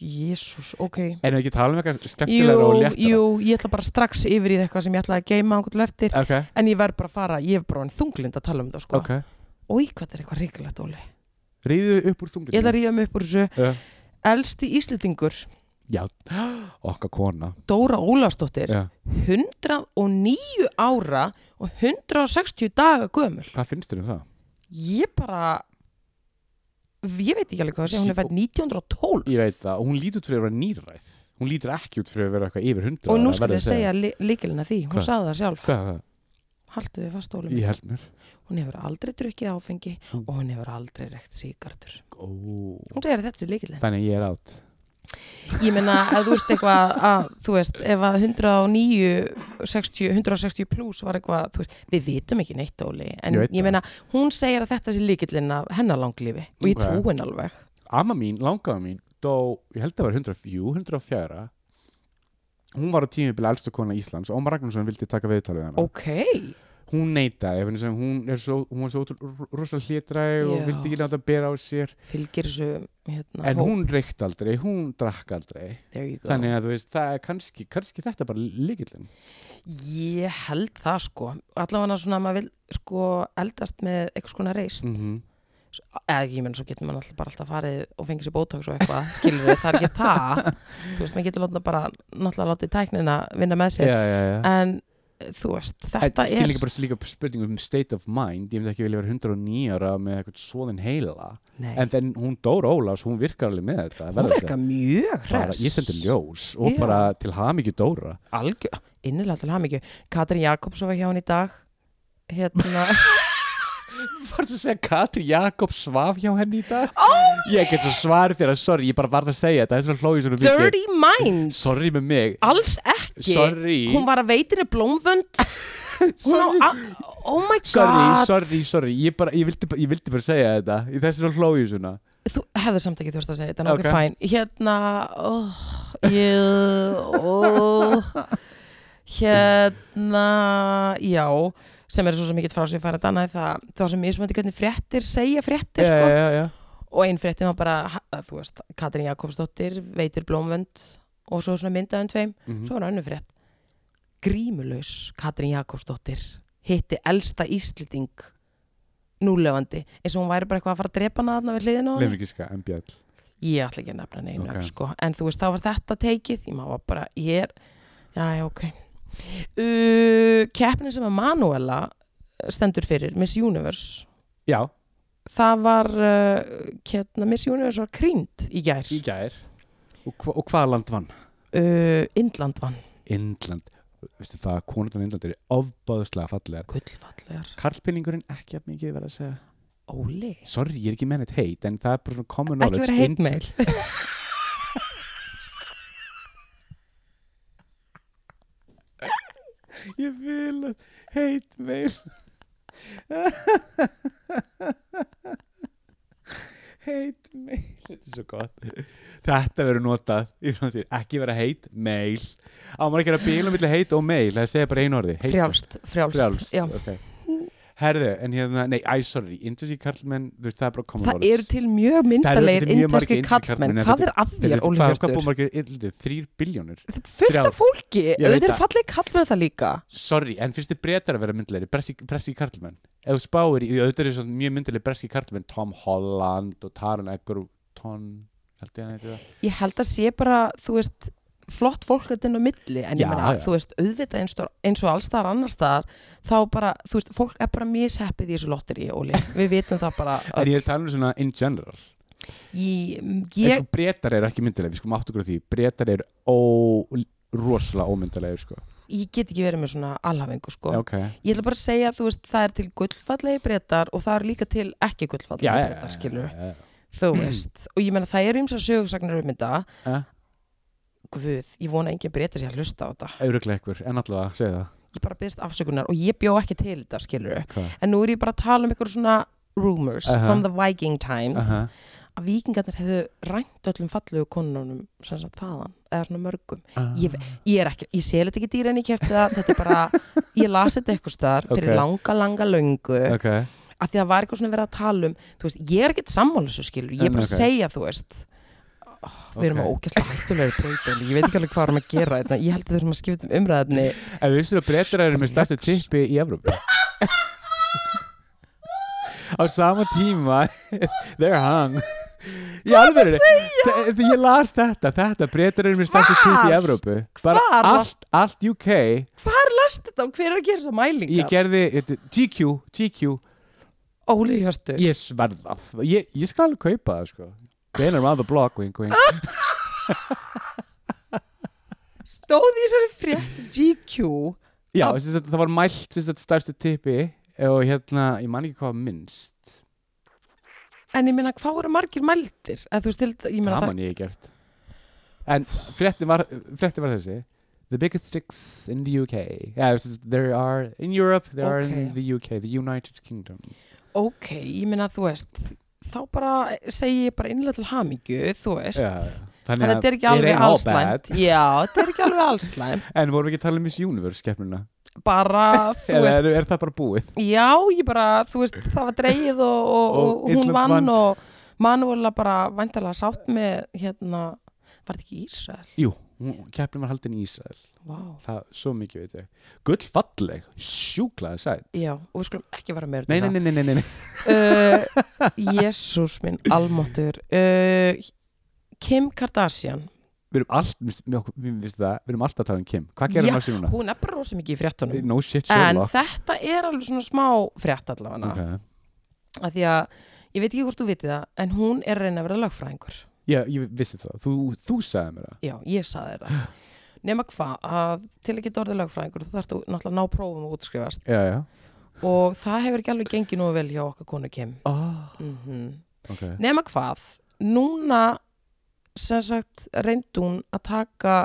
jésus, ok
en við ekki tala um eitthvað
jú,
skemmtilega og léttara
jú, ég ætla bara strax yfir í eitthvað sem ég ætla að geima ángur til eftir
ok,
en ég verð bara að fara, ég er bara en þunglind að tala um þetta sko,
ok,
oi, hvað þetta er eitthvað ríkalegt, Óli
ríðu upp
ég
úr
ætla að
þunglinu
ríða mig upp úr þessu
uh,
elsti íslendingur,
já, okkar kona
Dóra Ólafsdóttir
já.
109 ára og 160 daga gömul
hvað finnst þér um það?
ég bara ég veit ekki alveg hvað það sé, hún er fætt 1912
Ég veit það, og hún lítur út fyrir að vera nýræð Hún lítur ekki út fyrir að vera eitthvað yfir hundra
og nú skal ég segja li- lykilinn að því hún
Hvað?
sagði það sjálf,
Hvað er það?
haltu við fast ólum
Ég held mér
hún hefur aldrei drukkið áfengi
Mm.
og hún hefur aldrei reykt síkartur
Ó.
hún segir að þetta sé lykilinn
Þannig að ég er átt
ég meina ef þú ert eitthvað að þú veist, ef að 109 60, 160 pluss var eitthvað þú veist, við vitum ekki neitt Óli en ég,
Ég veit það.
meina, hún segir að þetta sé líkillin af hennar langlífi og ég
Ok.
trúi henn alveg
Amma mín, langaða mín, dó Ég held að það var 104, 104 Hún var á tímubili elstu kona Íslands Ómar Ragnarsson vildi taka viðtalið hana
ok,
Hún neitaði, vegna þess að hún, er svo, hún var svo ótrú- rosalega hlýtræg og
Já.
vildi ekki láta að bera á sér
fylgir þessu hérna,
En
hó-
hún reykti aldrei, hún drakk aldrei
there you go
Þannig að þú veist, það er kannski, kannski þetta bara líkillin
ég held það sko allavega svona að maður vil sko eldast með eitthvað skona reist
mm -hmm.
eða ég menn svo getur maður alltaf bara alltaf farið og fengið sér bótaks og eitthvað skilur við, það er ekki það þú veist, maður getur láta bara náttúrulega látið tæknina vinna með sér
Já, já, já
en eh, þú veist, þetta
Þetta er
er
líka bara líka spurning um state of mind ég myndi ekki vilja vera 109 ára með eitthvað svoðin heila
Nei,
en þenn hún Dóra Ólafs, hún virkar alveg með þetta
hún verka mjög
bara,
hress
ég sendi ljós og
Já.
bara til hamingju Dóra
algjör, innilega til hann ekki Katrin Jakobs var hjá hann í dag hérna,
Varst að segja Katri Jakobs svaf hjá henni í dag? Oh, ég get svo svar fyrir að sorry, ég bara varð að segja þetta það er svo hlóið svona mikið
Dirty Minds
Sorry með mig
alls ekki
Sorry
hún var að veitinu blómvönd hún á,
Sorry.
a- oh my god
Sorry, sorry, sorry, ég, bara, ég, vildi, bara- ég vildi bara segja þetta í þessu hlóið svona
þú hefði samt ekki þurft að segja þetta en ok,
Ok.
fæn, hérna oh, ég oh, hérna já, sem er svo sem ég get frá sér færið annað það, það sem ég sem hvernig fréttir segja fréttir
Já,
sko
já, já,
og einn fréttin var bara, ha- að, þú veist Katrin Jakobsdóttir veitir blómvönd og svo svona myndaðum tveim
Mhm.
svo var önnur frétt grímulaus Katrin Jakobsdóttir hitti elsta íslending núlefandi eins og hún væri bara eitthvað að fara að drepa hana þarna við hliðin á henni
Leifrikiska, MBL
ég ætla ekki að nefna neina
Ok.
sko. en þú veist þá var þetta tekið ég maður var bara, ég er Já, já, ok. Uh, keppnin sem að Manuela uh, stendur fyrir, Miss Universe,
Já,
það var, uh, hérna, Miss Universe var krýnd í gær.
í gær Og, hva, og hvað land vann?
Uh, Indland vann,
Indland Vistu það, konundan Indland eru ofbáðslega fallegar
gullfallegar,
Karlpinningurinn ekki að mikið verið að segja
óli.
Sorry, ég er ekki með neitt heit En það er bara svona common
Ekki
knowledge
vera
Ind-
heitmeil.
Ég vil heit meil Heit meil Þetta er svo gott Þetta verður notað í framtíð Ekki vera heit meil Á maður ekki að bíla milli heit og meil Það segja bara einu orði heit-
Frjálst, frjálst,
Frjálst
já.
ok. Herðu, en hérna, nei, æ, sorry Indísi karlmenn, þú veist, það er bara common
Það eru til mjög myndalegir
til mjög
indverski
margir indverskir
kallmenn.
karlmenn,
Hvað
þetta
er að þér, Óli
Hvað hvað
Hjörtur?
búið margir illið? Þrýr biljónir
Þetta er fullt af
Þrjár.
fólki,
veit
auðvitað er
það.
falleg kallmenn það líka.
Sorry, en finnst þið breytar að vera myndilegri Bressi, bressi karlmenn Ef þú spáir í, auðvitað er svona mjög myndileg bressi karlmenn Tom Holland og Taron Egerton Held ég hann eitthvað
Ég held að sé bara, þú veist, flott fólk þetta inn á milli, en
Já,
ég meina,
já.
þú veist, auðvitað eins og, eins og allstaðar annarstaðar, þá bara, þú veist, fólk er bara mjög seppið í þessu lotteri, Óli. Við vitum það bara. öll.
En ég er talað um svona in general
Ég,
En
ég,
sko breytar eru ekki myndilegri, við skulum áttu okkur á því Breytar eru ó, rosalega ómyndilegri sko.
ég get ekki verið með svona alhafingu, sko.
Ok,
Ég ætla bara að segja, þú veist, það er til gullfallegi breytar og það eru líka til ekki gullfallegi
já, já, já,
breytar, skilur.
já, já.
Þú veist, og ég meina, það eru ymsa sögursagnir um þetta.
Eh?
Guð, ég vona engin breytar sér að hlusta á þetta.
Örugglega einhver, en allavega, segðu það
Ég bara byrðist afsökunar og ég bjó ekki til þetta, skilur.
Hvað?
en nú er ég bara að tala um eitthvað svona rumors
Aha.
from the viking times
Aha.
að vikingarnir hefðu rænt öllum fallegu konunum sem sagt þaðan, eða svona mörgum Ég
Ah.
ég er ekki, ég sel þetta ekki dýra en ég kefti það þetta er bara, ég las þetta eitthvað staðar fyrir
Ok.
langa, langa löngu
Ok,
að því að var eitthvað svona verið að tala um þú veist, ég er ekkert sammála þessu skilur ég er
En,
bara að
ok.
segja, þú veist Við erum
Ok.
að ógæsla hættulegu breytum Ég veit ekki alveg hvað við erum að gera þetta Ég held að við erum að skipta um umræðinni
En vissir að breytar eru með stærstu tippi í Evrópu Á sama tíma They're hung Ég alveg verið Ég las þetta, þetta breytar eru með stærstu tippi í Evrópu Bara
Hvar?
allt, allt UK
Hvar last þetta og hver er að gera þessa
Ég
mælingar?
gerði þetta- TQ, TQ
Óli Hjörstu
Ég sverða það. ég, ég skal alveg kaupa það sko Been around the block, wink, wink
stóð í þessari frétt GQ
Já,
Að-
sem sagt, það var mælt sem sagt, stærstu tippi og hérna, ég man ekki hvað var minnst
en ég meina hvað voru margir mældir eða þú veist til, ég meina
það man ég ekki gert en frétti var, frétti var þessi the biggest sticks in the UK yeah, this is- there are in Europe there are in
Ok.
the UK, the United Kingdom
það ok, ég meina þú veist þá bara segi ég bara innlega til hamingju þú veist
Já,
þannig að þetta er ekki
it
alveg
ain't all
allslæmt já, þetta er ekki alveg allslæmt
bad. en vorum við ekki að tala um Miss Universe keppnuna
bara, þú
eða
veist,
er, er það bara búið
já, ég bara þú veist, það var dreigið og, og,
Og
og hún
Írland
vann
vann.
og Manuela bara væntalega sátt með hérna, var þetta ekki Ísrael?
jú, hún- keppnin var haldin í Ísrael
Vá
það, svo mikið veit ég gullfalleg, sjúklaði sætt
Já, og við skulum ekki vera meira út í
nei,
það.
nei, nei, nei, nei, nei.
uh, Jésús minn, almáttur uh, Kim Kardashian
við erum allt, við, okkur- við, við, það, við erum alltaf að tala um Kim hvað gerir
Já,
maður sér núna?
hún er bara rosa mikið í fréttunum
no shit,
en
Sherlock
þetta er alveg svona smá frétt allavega okay.
okay.
að því að, ég veit ekki hvort þú vitið það en hún er að reyna að vera lögfræðingur
Já, ég vissi það. Þú, þú sagði mér það.
já, ég saði þetta nema hvað, að til að geta orðið lögfræðingur þú þarfst að náttúrulega ná prófum og útskrifast
Já, já.
og það hefur ekki alveg gengið nú vel hjá okkar konu Kim
Oh.
mm
Ok.
nema hvað núna sem sagt reyndi hún að taka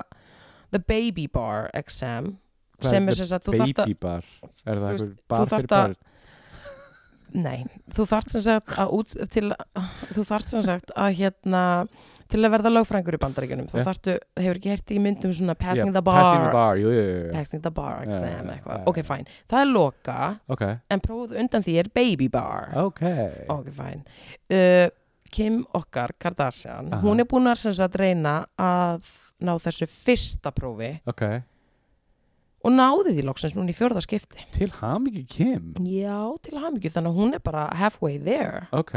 the baby bar exam
Hvað
sem er
er the
sem sagt þú þarft að
Baby bar. Er það
þú
einhver
veist,
bar
þú
fyrir
þarft að-
bar?
nei, þú þarft sem sagt að út, til, þú þarft sem sagt að hérna til að verða lögfrængur í bandaríkjunum þá
Já.
þarftu, hefur ekki hert í myndum svona passing,
Já,
the bar,
Passing the bar, jú, jú, jú, jú.
passing the bar
Já,
exam
já,
eitthvað,
já,
ok fæn, það er loka
Ok.
en prófuð undan því er baby bar
Ok.
Ok, fæn. Uh, Kim okkar, Kardashian,
Aha.
hún er búin að sem sagt reyna að ná þessu fyrsta prófi
Ok.
og náði því loksins núna í fjörða skipti.
Til hamingi Kim.
Já, til hamingju, þannig að hún er bara halfway there.
Ok.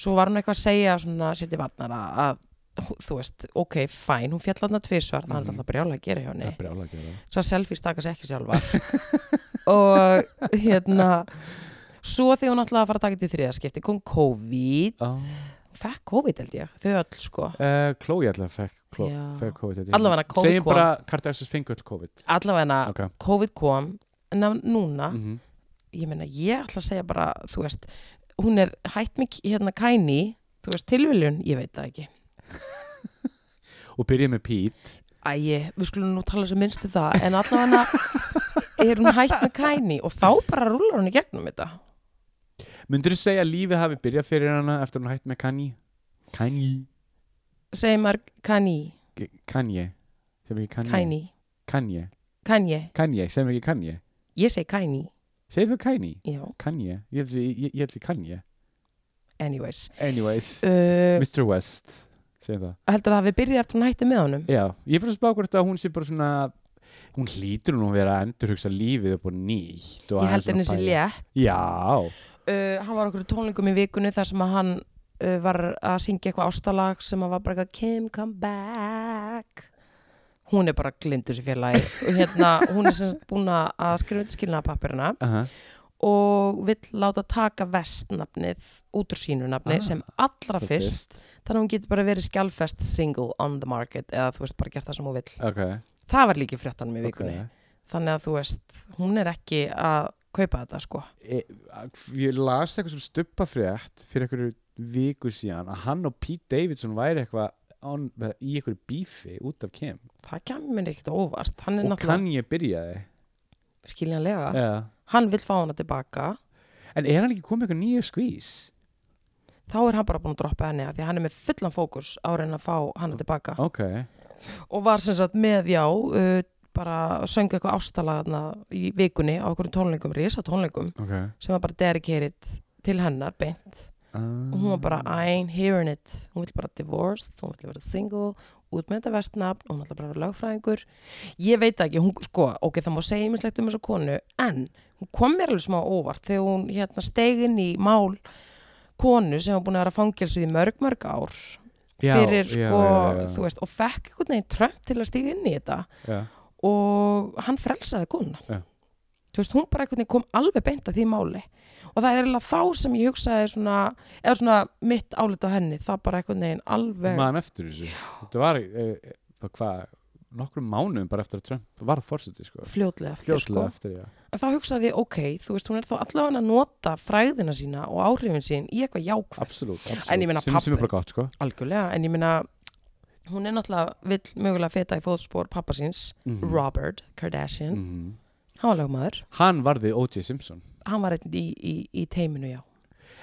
Svo var hún eitthvað að segja svona sér til varnar að- að hú- þú veist, ok, fæn, hún fjall hann að tvisvar, það er
Mhm.
alltaf brjála að gera hjá henni
Það er brjála að gera það.
svo að selfie stakast ekki sjálfar og hérna svo því hún ætlaði að fara að taka til þriðaskipti kom COVID, fekk COVID held ég þau öll sko,
Uh, Chloe alltaf fekk, Chlo-
Já.
fekk COVID þetta
Allavega hana, COVID
Segjum
kom. Ah.
bara Kardashians fengu öll COVID
allavega
Ok
COVID kom en að núna,
Mhm.
ég meina ég ætla að segja bara, þú veist hún er hætt mig hérna kæni þú veist, tilviljun, ég veit það ekki
Og byrja með Pete
Æi, við skulum nú tala sem minnstu það en allavega er hún hætt með kæni og þá bara rúlar hún í gegnum þetta
Myndur þú segja að lífið hafi byrjað fyrir hana eftir hún hætt með Kanye? Kanye
segir maður kæni,
K- Kanye Sem ekki Kanye
kæni,
Kanye
kæni
Kanye, sem ekki Kanye
ég segi kæni,
Segir þú Kanye?
já
Kanye Ég held því- ég- ég held því Kanye
anyways
Anyways
uh,
Mr. West Segir það
heldur það að við byrja eftir hún hætti með honum
Já, ég er bara að spá hvort að hún sé bara svona hún hlýtur nú að vera að endurhugsa lífið upp og nýtt
ég
og aðeins
held henni
svona
sér
pæla.
létt
Já,
uh, hann var okkur í tónlingum í vikunni þar sem að hann uh, var að syngja eitthvað ástalag sem að var bara eitthvað Kim come back hún er bara glindur sér félagi og hérna hún er semst búin að skrifa undir skilnaðapapirina
aha,
og vill láta taka vestnafnið út úr sínu nafni
Ah,
sem allra
það
fyrst þannig að hún getur bara verið skjálfest single on the market eða þú veist bara gert það sem hún vill
ok,
það var líki fréttanum í
ok
vikunni þannig að þú veist, hún er ekki að kaupa þetta sko
e, Ég las eitthvað svona stuppafrétt fyrir einhverju viku síðan að hann og Pete Davidson væri eitthvað on, í einhverju bífi út af Kim
það kemur mér ekkert á óvart hann er
og
náttúrulega
Kanye byrjaði
skiljanlega
ja.
hann vil fá hana tilbaka
En er hann ekki komið eitthvað nýju skvís?
þá er hann bara búin að droppa henni af því að hann er með fullan fókus á að reyna að fá hana tilbaka
Ok,
og var sem sagt með já uh, bara söng eitthvað ástalaðna í vikunni á okkur tónleikum, risa tónleikum
ok
sem var bara dedicated til hennar beint og hún var bara I ain't hearing it hún vill bara divorced, hún vill vera single út með þetta vestnafn, hún ætla bara að vera lögfræðingur ég veit það ekki, hún sko ok, það má segja mislegt um þessu konu en hún kom mér alveg smá óvart þegar hún hérna steigin í mál konu sem var búin að vera fangelsuð í mörg mörg ár
Já,
fyrir
já,
sko,
já, já, já.
þú veist og fekk einhvern veginn Trump til að stíga inn í þetta
Já.
og hann frelsaði konuna
Já.
þú veist, hún bara einhvern veginn kom alveg beint að því máli og það er eiginlega þá sem ég hugsaði svona, eða svona mitt álit á henni, það bara einhvern veginn alveg
man eftir þessu þetta var eh, eh, hvað, nokkrum mánuðum bara eftir að Trump varð fórseti sko.
fljótlega eftir
fljóðslega eftir, já
sko en þá hugsaði ég, ok, þú veist, hún er þá allavega að nota fræðina sína og áhrifin sín í eitthvað jákvæð,
absolutt,
En ég meina,
sem, sem er
pabbi-
bara gott sko.
algjörlega en ég meina, hún er náttúrulega vill mögulega feta í fóðspor pappa síns
Mhm.
Robert Kardashian,
Mhm.
hann var lögmaður
hann varði O.J. Simpson
hann var einn í, í, í teiminu, já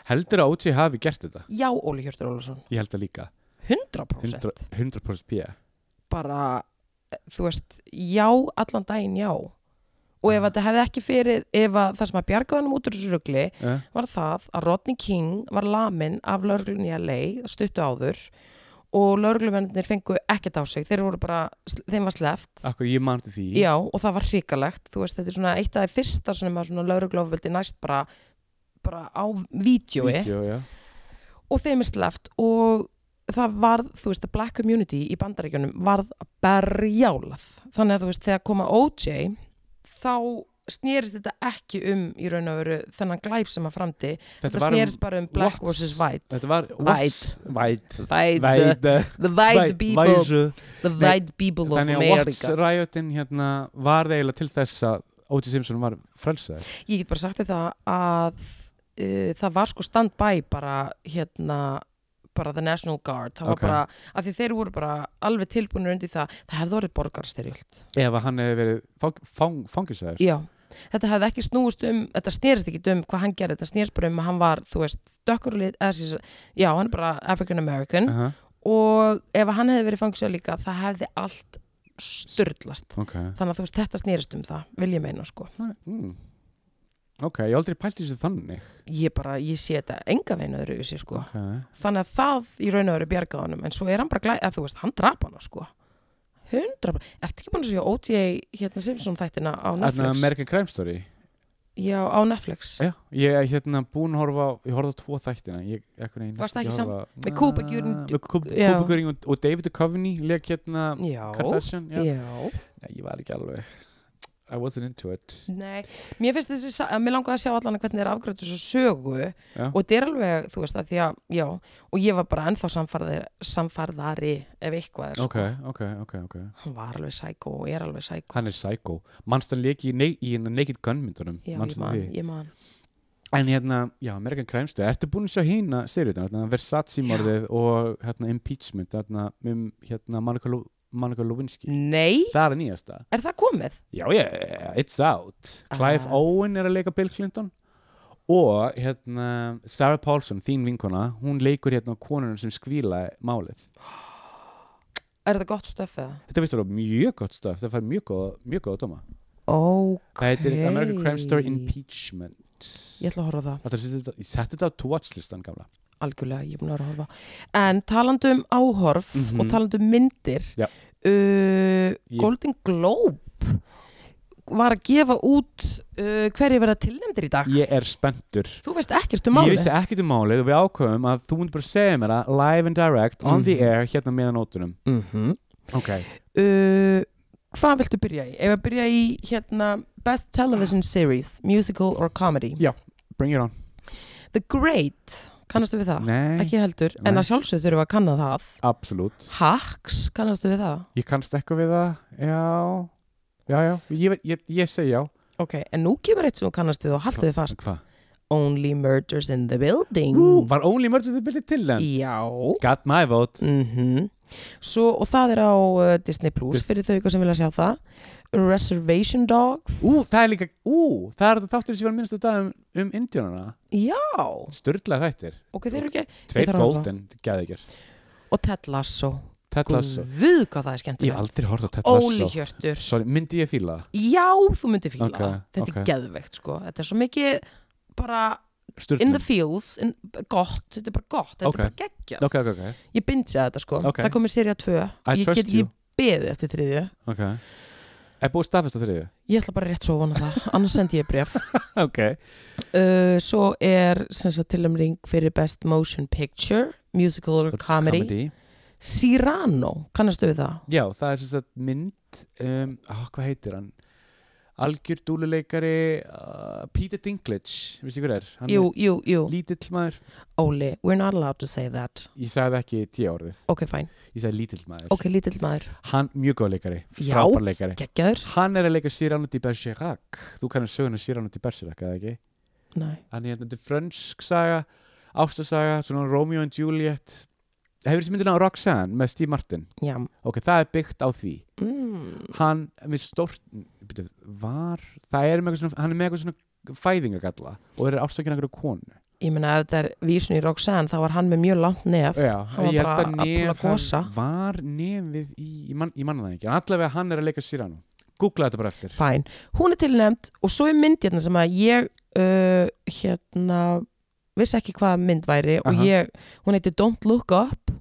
heldur að O.J. hafi gert þetta
já, Óli Hjörtur Ólusson,
ég held það líka,
100%,
100%, 100 pía
bara, eh, þú veist, já, allan daginn já. Og ef þetta hefði ekki fyrir, ef að það sem að bjargaðanum út úr þessu rugli
uh,
var það að Rodney King var lamin af lörglun í LA stuttu áður og lörglumennir fengu ekkert á sig, þeir voru bara, þeim var sleft.
akkur ég man til því
Já, og það var hrikalegt, þú veist, þetta er svona eitt af því fyrsta sem að svona lörglofveldi næst bara, bara á vídjói
Vídeó, E, já.
og þeim er sleppt og það varð, þú veist, the black community í bandaríkjunum varð berjálað þannig að þú veist, þegar koma OJ þá snýrist þetta ekki um í raun og veru þennan glæp sem að framdi, þetta
var um-
snýrist bara um black
Watts.
vs. white
þetta var what's- white
white,
Væde,
the white people the white people of
þannig að Watts
America
riotin hérna var eiginlega til þess að O.J. Simpson var frelsaður
ég get bara sagt þetta að uh, það var sko stand-by bara hérna bara the National Guard, það var
Ok.
bara að því þeir voru bara alveg tilbúinir undir það það hefði orðið borgarstyrjöld
ef að hann hefði verið fang, fang, fangilsaður
Já, þetta hefði ekki snúist um þetta snerist ekki um hvað hann gerði, þetta snerist bara um að hann var, þú veist, dökkur og lit eða, sem sagt- já, hann er bara African American
uh -huh.
og ef hann hefði verið fangstjóð líka, það hefði allt störtlast,
okay.
þannig að þú veist, þetta snerist um það, vil ég meina, sko
Mm. ok, ég hef aldrei pælt í þessu þannig
ég bara, ég sé þetta enga veginn öðru vissi, sko,
ok,
þannig að það í raun og öðru bjargaði honum, en svo er hann bara glæð að þú veist, hann drap hana, sko 100%, ertu ekki búin að segja OTA hérna Simpson þættina á
þannig að
Netflix?
American Crime Story
Já, á Netflix
Já, ég er hérna búin að horfa á, ég horfði á tvo þættina ég,
Varstu ekki sam- með Cuba Gooding- já.
Kúbakjúrin og, og David Duchovny leik hérna
Já,
Kardashian já.
já.
Nei, ég var ekki alveg I wasn't into it
Nei, mér finnst þessi, sa- að mér langaði að sjá allan að hvernig er afgrættu svo sögu
Já.
og þetta er alveg, þú veist, að því að, já, og ég var bara ennþá samfarðari, samfarðari ef eitthvað er,
Ok, ok, ok, ok
sko, hann var alveg sækó og er alveg sækó.
Hann er psycho Manst hann leik í, ne í hérna Naked Gun myndunum
Já,
Manstu
ég man,
því?
ég man.
En hérna, já, Amerikan Kræmstu Ertu búin að sjá hína seriðan hérna, Versace morðið og hérna Impeachment hérna, um hérna Monica, Lew- Monica
Mm.
Lewinsky
Nei,
Það er nýjasta
er það komið?
Já, yeah, it's out Clive
Ah.
Owen er að leika Bill Clinton og hérna Sarah Paulson, þín vinkona hún leikur hérna konunum sem skvíla málið
Er það gott stöfið?
Þetta finnst það mjög gott stöf, það fær mjög góða mjög góða dóma
Ok.
Það heitir American Crime Story Impeachment
Ég ætla að horfa á það,
Þetta er setja þetta- Ég setti þetta á to watch listan gamla
algjörlega, ég er búin að vera að horfa. á. En talandi um áhorf
Mhm.
og talandi um myndir,
Já.
uh,
Ég-
Golden Globe var að gefa út uh, hverju verða tilnæmdir í dag.
Ég er spenntur
Þú veist ekkert um málið.
Ég vissi ekkert um málið og við ákveðum að þú myndir bara segja mér það live and direct on the
Mhm.
air hérna meðan nótunum
Mm
Mhm.
-hmm.
Ok
uh, hvað viltu byrja í? Ef að byrja í hérna Best Television Series, Musical or Comedy.
Bring it on
The Great, kannastu við það?
Nei,
Ekki heldur, en
Nei.
að sjálfsögðu þurfum við að kanna það.
absolutt
Hacks, kannastu við það?
Ég kannst eitthvað við það Já, já, já, ég, veit- ég, ég segi já
Ok, en nú kemur eitt sem þú kannast við og haltu við fast.
Hvað?
Only Murders in the Building.
Ú, var Only Murders in the Building til þeim?
Já.
Got my vote
Mm Svo, og það er á uh, Disney Plus
Dis-
fyrir þau ykkur sem vilja sjá það. Reservation Dogs.
Ú, það er líka, ú, það er þetta þáttur sem ég var minnst að dag um, um indjónana
Já.
Sturla þættir,
Ok, þeir eru ekki. Ég
tveir
þarf að horfa.
golden, gæði ekki
Og Ted Lasso.
Ted Lasso,
Guð hvað það er
ég hef
skemmtilegt.
aldrei hort á Ted
Óli
Lasso
Hjörtur.
Sorry, myndi ég fíla það?
Já, þú myndir fíla
Ok,
það. Þetta
ok.
er geðveikt, sko. Þetta er svo mikið bara in
Sturlun
the fields, in, gott, þetta er bara gott, þetta
Ok.
er bara geggjað.
Ok, ok, ok,
Ég bindja þetta, sko.
Ok.
Það komið serið 2.
I
Ég
trust
get ekki
you.
beðið eftir þriðju.
ok Er búið staðfest á þriðju?
Ég ætla bara rétt svo að vona það, annars sendi ég bref.
Ok
Uh, svo er sem sagt tilumring fyrir Best Motion Picture, Musical or Comedy. Cyrano, kannastu við það?
Já, það er sem sagt mynd um, á, hvað heitir hann? Algjör dúluleikari uh, Peter Dinklage, veist ég hver er? Hann
Jú, jú, jú,
er lítill maður
Óli, we're not allowed to say that.
Ég sagði ekki tíu orðið,
Ok, fæn,
ég sagði lítill maður
ok, lítill maður.
Hann, mjög góð leikari,
Já.
frábær leikari
Gekkjaður?
Hann er að leika Cyrano de Bergerac Þú kannast söguna Cyrano de Bergerac, eða ekki?
Nei.
Hann er hérna, þetta er frönsk saga Ástasaga, svona Romeo and Juliet Hefur þessi myndina á Roxanne með Steve Martin
Já.
Ok, það er byggt á því
Mm.
hann með stórt byrju, var, það er með eitthvað svona hann er með eitthvað svona fæðingagalla og er ástakinn einhverju konu
Ég meina ef þetta er vísun í Roxanne þá var hann með mjög langt nef.
Já,
hann var
ég held
bara
að
að púla
nef
gosa.
hann var nefið í, ég man, ég manna það ekki en allavega hann er að leika Cyrano googla þetta bara eftir
Fæn. Hún er tilnefnd og svo er mynd hérna sem að ég uh, hérna vissi ekki hvað mynd væri og
Aha.
ég, hún heitir Don't Look Up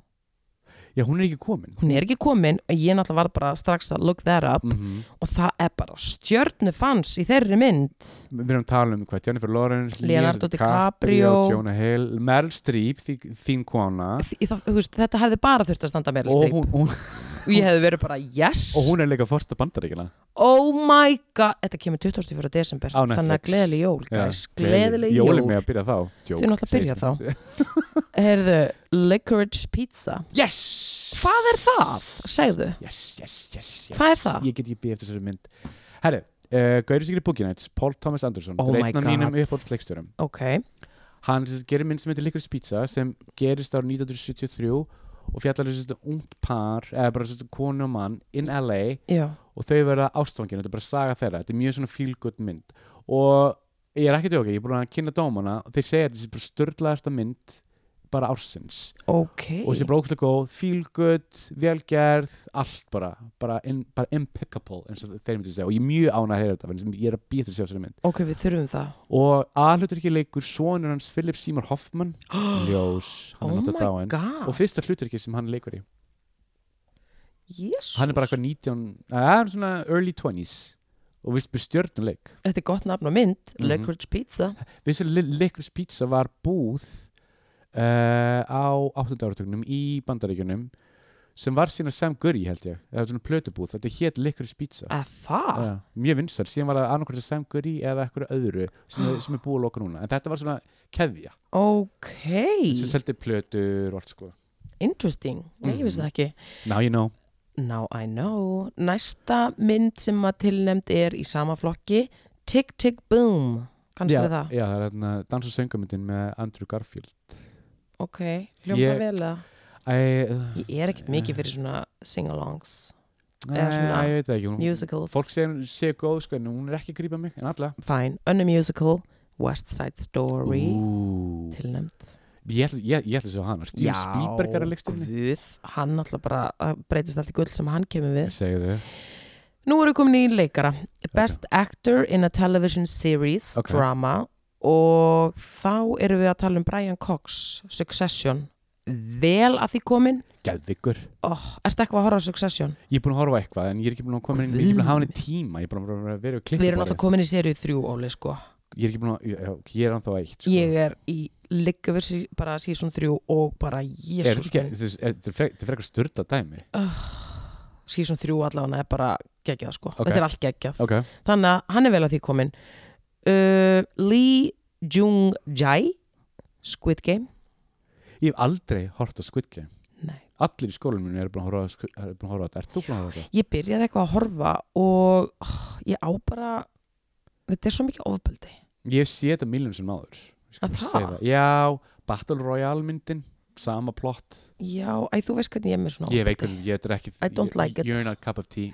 Já, hún er ekki komin
hún er ekki komin og ég náttúrulega var bara strax að look that up
mm
og það er bara stjörnu fans í þeirri mynd
Við erum að tala um hvað, Jennifer Lawrence
Leonardo DiCaprio.
Jonah Hill, Meryl Streep þín, þín kona
Þi- það, þú veist, þetta hefði bara þurft að standa meira
Ah. og
strip
hún, hún,
og ég hefði verið bara yes
og hún er að leika fórsta bandaríkina
oh my god, þetta kemur 24. desember
Á
þannig að
Netflix.
gleðileg jól guys, gleðileg jól,
Jólum með að byrja þá
Þau náttúrulega byrja þá Heyrðu, Licorice Pizza
Yes!
Hvað er það? Segðu
yes, yes, yes, yes.
Hvað er það?
Ég get ekki býð eftir þessari mynd Herru, uh, Gauri Sigri Bookinæts, Paul Thomas Anderson
Oh
þetta er
my
einn af mínum
God.
uppáhaldsleikstjórum
Ok,
Hann sem sagt gerir mynd sem heitir Licorice Pizza sem gerist ára 1973 og fjallar þessu þetta ungt par eða bara þessu konu og mann in LA
já
og þau verða ástfangin, þetta er bara saga þeirra þetta er mjög svona feel good mynd og ég er ekki tjóki, ég er búin að kynna dómana og þeir segja að þetta er bara störlaðasta mynd bara ársins
Ok
og þessi brókslega góð, feel good velgerð, allt bara bara, in, bara impeccable eins og þeir myndi segja og ég er mjög ánægð að heyra þetta vegna sem ég er að býta að sjá þessari mynd
Ok, við þurfum það
og aðhlutur ekki leikur sonur hans Philip Seymour Hoffman ljós, hann
Oh
er
my
náttúrulega dáin
god
og fyrsta hlutur ekki sem hann leikur í
Jesus
hann er bara eitthvað 19, að, svona early 20s og vist með stjörnuleik
Þetta er gott nafn á mynd,
Mhm.
Licorice Pizza
Vissu Licorice Pizza var búð uh, á 8. áratögnum í Bandaríkjunum sem var sína Sam Gurry held ég það var svona plötubúð, þetta hétt Licorice Pizza
Að það?
Já, mjög vinsar, síðan var það annarkvæmst Sam Gurry eða eitthvað öðru sem, er- sem er búið að loka núna, en þetta var svona keðja
Ok,
sem seldi plötur og allt sko
interesting Nei, ég
Mhm.
vissi það ekki
Now you know
Now I know Næsta mynd sem að tilnefnd er í sama flokki Tick Tick Boom Kannstu
já,
við það?
já, það er þarna dans- og söngamyndin með Andrew Garfield
Ok, hljóma
Ég-
vel að
Æ,
Ég er ekkert mikið fyrir svona sing-alongs
Nei,
svona
ég veit það ekki, hún,
Musicals
Mm. fólk sé, sé góð sko, en hún er ekki að grípa mig, en alla
Fine, önnu musical West Side Story
Ú,
Tilnæmt
ég ætla ég- ég ætla að sjá hana Steven Spielberg er að leikstinni
guð, hann alltaf bara það breytist allt í gull sem hann kemur við
segðu
Nú erum við komin í leikara Best Actor in a Television Series
Ok.
Drama og þá erum við að tala um Brian Cox Succession Vel að því komin
Gæðvigur
oh, Ertu eitthvað að horfa á Succession?
Ég er búin að horfa á eitthvað en ég er ekki búin að koma inn Ég er ekki búin að hafa hann í tíma Ég er búin að vera- vera að klippa
Við erum alltaf komin í serið þrjú, Óli, sko
Ég er ekki búin að Ég, já, ok, ég er alltaf eitt sko.
Ég er í ligga við sí- bara sísón þrjú og bara
Er þetta
jésús
ekki- þetta er- er- þetta er frek- þetta er frekar styrta dæmi
sísón þrjú allavega er bara geggjað sko
Ok.
þetta er allt geggjað
Ok
þannig að hann er vel að því komin uh, Lee Jung Jai Squid Game
Ég hef aldrei hort á Squid Game
Nei.
Allir í skólanum minn eru búin að horfa á Squid- eru búin að horfa á þetta Ert þú búin að horfa á þetta?
ég byrjaði eitthvað að horfa og oh, ég á bara þetta er svo mikið ofbeldi
Ég sé þetta miljón sem áður Ég skal
Að
bara
það?
segja Já, Battle Royale myndin Sama plott
já, æ, þú veist hvernig ég er með svona
Ég veit
ofbeldi.
hvernig, ég drekki
I don't like it.
You're not a cup of tea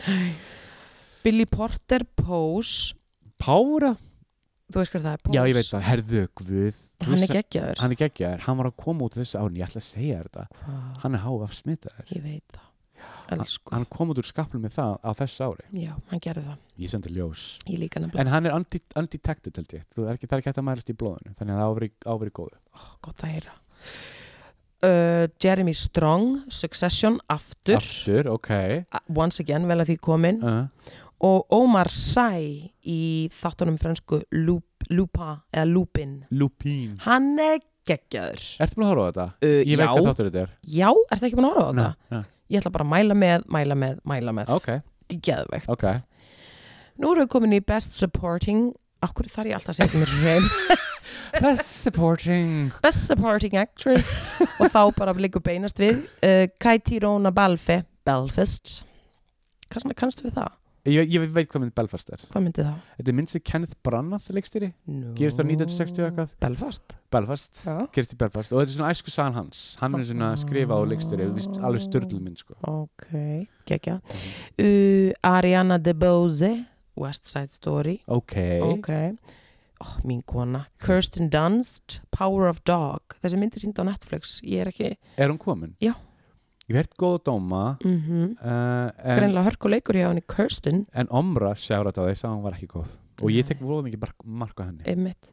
Billy Porter Pose
Pára?
þú veist hvernig það er Pose
Já, ég veit það, herðu guð Þú
hann
veist-
er geggjaður
Hann er geggjaður, hann var að koma út þessu árin Ég ætla að segja þér þetta
Hvað?
Hann er háaf smitaður
ég veit það elsku
Hann kom út úr skaplu með það á þessu ári
já, hann gerði það
Ég sendi ljós
ég líka nefnilega
En hann er unde- undetected held ég Þú er ekki, það er ekki hægt að mælast í blóðinu Þannig að það á að vera- á að vera í góðu
gott að heyra uh, Jeremy Strong Succession, aftur, Mm.
Aftur, ok
A- once again, vel að því komin
uh,
og Omar Sy í þáttunum fransku Lup, Lupa eða Lupin
Lupín
hann er geggjaður
Ertu búin að horfa á þetta?
uh,
Ég veit hvað
já,
þáttur þetta er
já, er það ekki búin að horfa á þetta?
Nei, nei.
Ég ætla bara að mæla með, mæla með, mæla með
Ok,
Þetta er geðveikt
ok
Nú erum við komin í Best Supporting Akkur þar ég alltaf að segja mér svo heim
Best supporting
Best Supporting Actress og þá bara líka beinast við uh, Kai Tirona Balfe Belfast Kannst, kannstu við það?
Ég, ég veit hvað mynd Belfast er
Hvað myndi það?
Þetta er mynd sem Kenneth Branagh leikstýri
No.
Gerist það 1960 eitthvað?
Belfast?
Belfast,
Já.
gerist í Belfast og þetta er svona æsku sann hans, hann er svona
Ah.
skrifa og leikstýri, þú veist, alveg störlu mynd sko.
Ok,
Mhm.
gekkja uh, Ariana DeBose West Side Story
ok,
Ok oh, Mín kona Kirsten Dunst Power of Dog Þessi myndi sínd á Netflix Ég er ekki
er hún komin?
Já.
Ég verð góð dóma
mm
uh, en,
Greinlega hörkuleikur hjá henni Kirsten
en Omra sjára þetta á því að hún var ekki góð og ég tek voða mikið mark- mark á henni
einmitt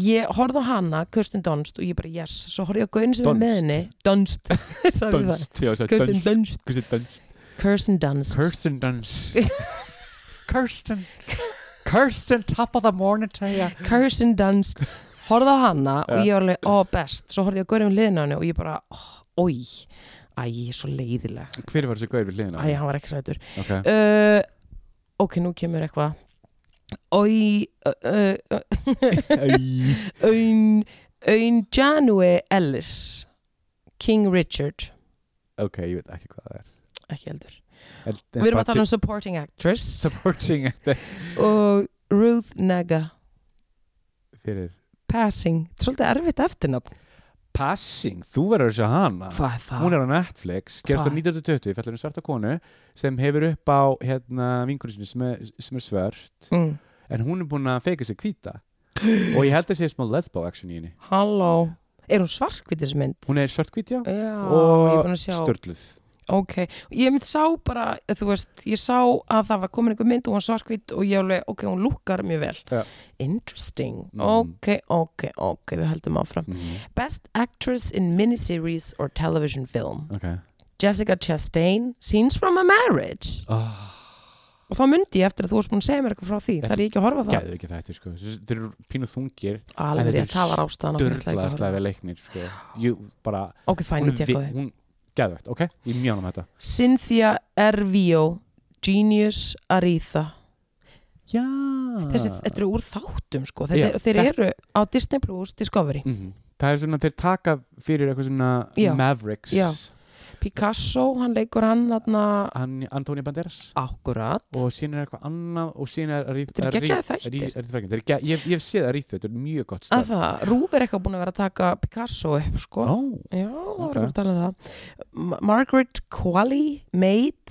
Ég horfði á hana, Kirsten Dunst og ég bara yes, svo horfði ég á gauðin sem er
Dunst.
með henni Dunst, sagði það
Dunst, já, sagði
Kirsten
Dunst
Dunst
Kirsten
Kirsten
Dunst
Dunst
Kirsten Dunst Kirsten Kirsten, top of the morning to you
Kirsten Dunst horfði á hana og
Já.
ég var alveg, ó best svo horfði ég á gauðin um liðin á henni og ég bara oi, æ, ég er svo leiðileg
hver var þessi gauður við
æ,
hliðina? á henni?
hann var ekki sætur
ok,
uh, ok, nú kemur eitthvað Oi uh, uh,
Æ,
Aun Aun Janue Ellis King Richard
ok, ég veit ekki hvað það er
ekki heldur
En- en
við erum
bara
að tala um supporting actress
supporting actor
og Ruth Nega
fyrir
Passing, Þetta er svolítið erfitt eftirnafn
Passing, þú verður að sjá hana
hvað er það?
hún er á Netflix, gerst á
Hva?
1920 fjallar um svarta konu sem hefur upp á hérna vinkunum sinni sem er, sem er svört
mm.
en hún er búin að feika sig hvíta og ég held að sé smá lesbo action í henni
halló, er hún svarkvitið þessi mynd?
hún er svart
já,
hvítja
ég er
og
búin að sjá
störluð
ok, ég mynd sá bara, þú veist ég sá að það var komin einhver mynd og hún svarkvít og ég alveg, ok, hún lukkar mjög vel
Já.
interesting,
Mm.
ok, ok ok, við heldum áfram
Mhm,
Best Actress in Miniseries or Television Film
ok
Jessica Chastain, Scenes from a Marriage
oh,
og þá myndi ég eftir að þú varst búin að segja mér eitthvað frá því
Þetta
þar ég ekki að horfa á það
Gæðu ekki þetta, sko Þessi- Þeir eru pínu þungir,
alveg
þetta er
rétt, það var ástæðan af því ég ætlaði ekki að horfa.
dörlaðslega vel leiknir, sko Jú, bara
ok, fæn, ég
Hún er
tek á
vi-
þig
hún geðvægt, ok, ég er mjög ánum þetta
Cynthia Ervio Genius Aritha
já
Þessi, þetta eru úr þáttum sko þetta,
Ah. Já,
er- þeir
þetta-
eru á Disney Plus Discovery
Mhm. það er svona þeir taka fyrir eitthvað svona
Já.
Mavericks
Já. Picasso, hann leikur hann þarna
hann Antonio Banderas
akkurat
og síðan er eitthvað annað og síðan er Aretha-
Þetta eru geggjaðir
Aretha-
þættir.
Aretha Franklin. Þeir eru gegg- ég ég hef séð að rýta þetta er mjög gott
að
stöð
það, Rúf er eitthvað búin að vera að taka Picasso upp sko
Ó,
Já, það
Ok.
var að tala um það M Margaret Qualley, Maid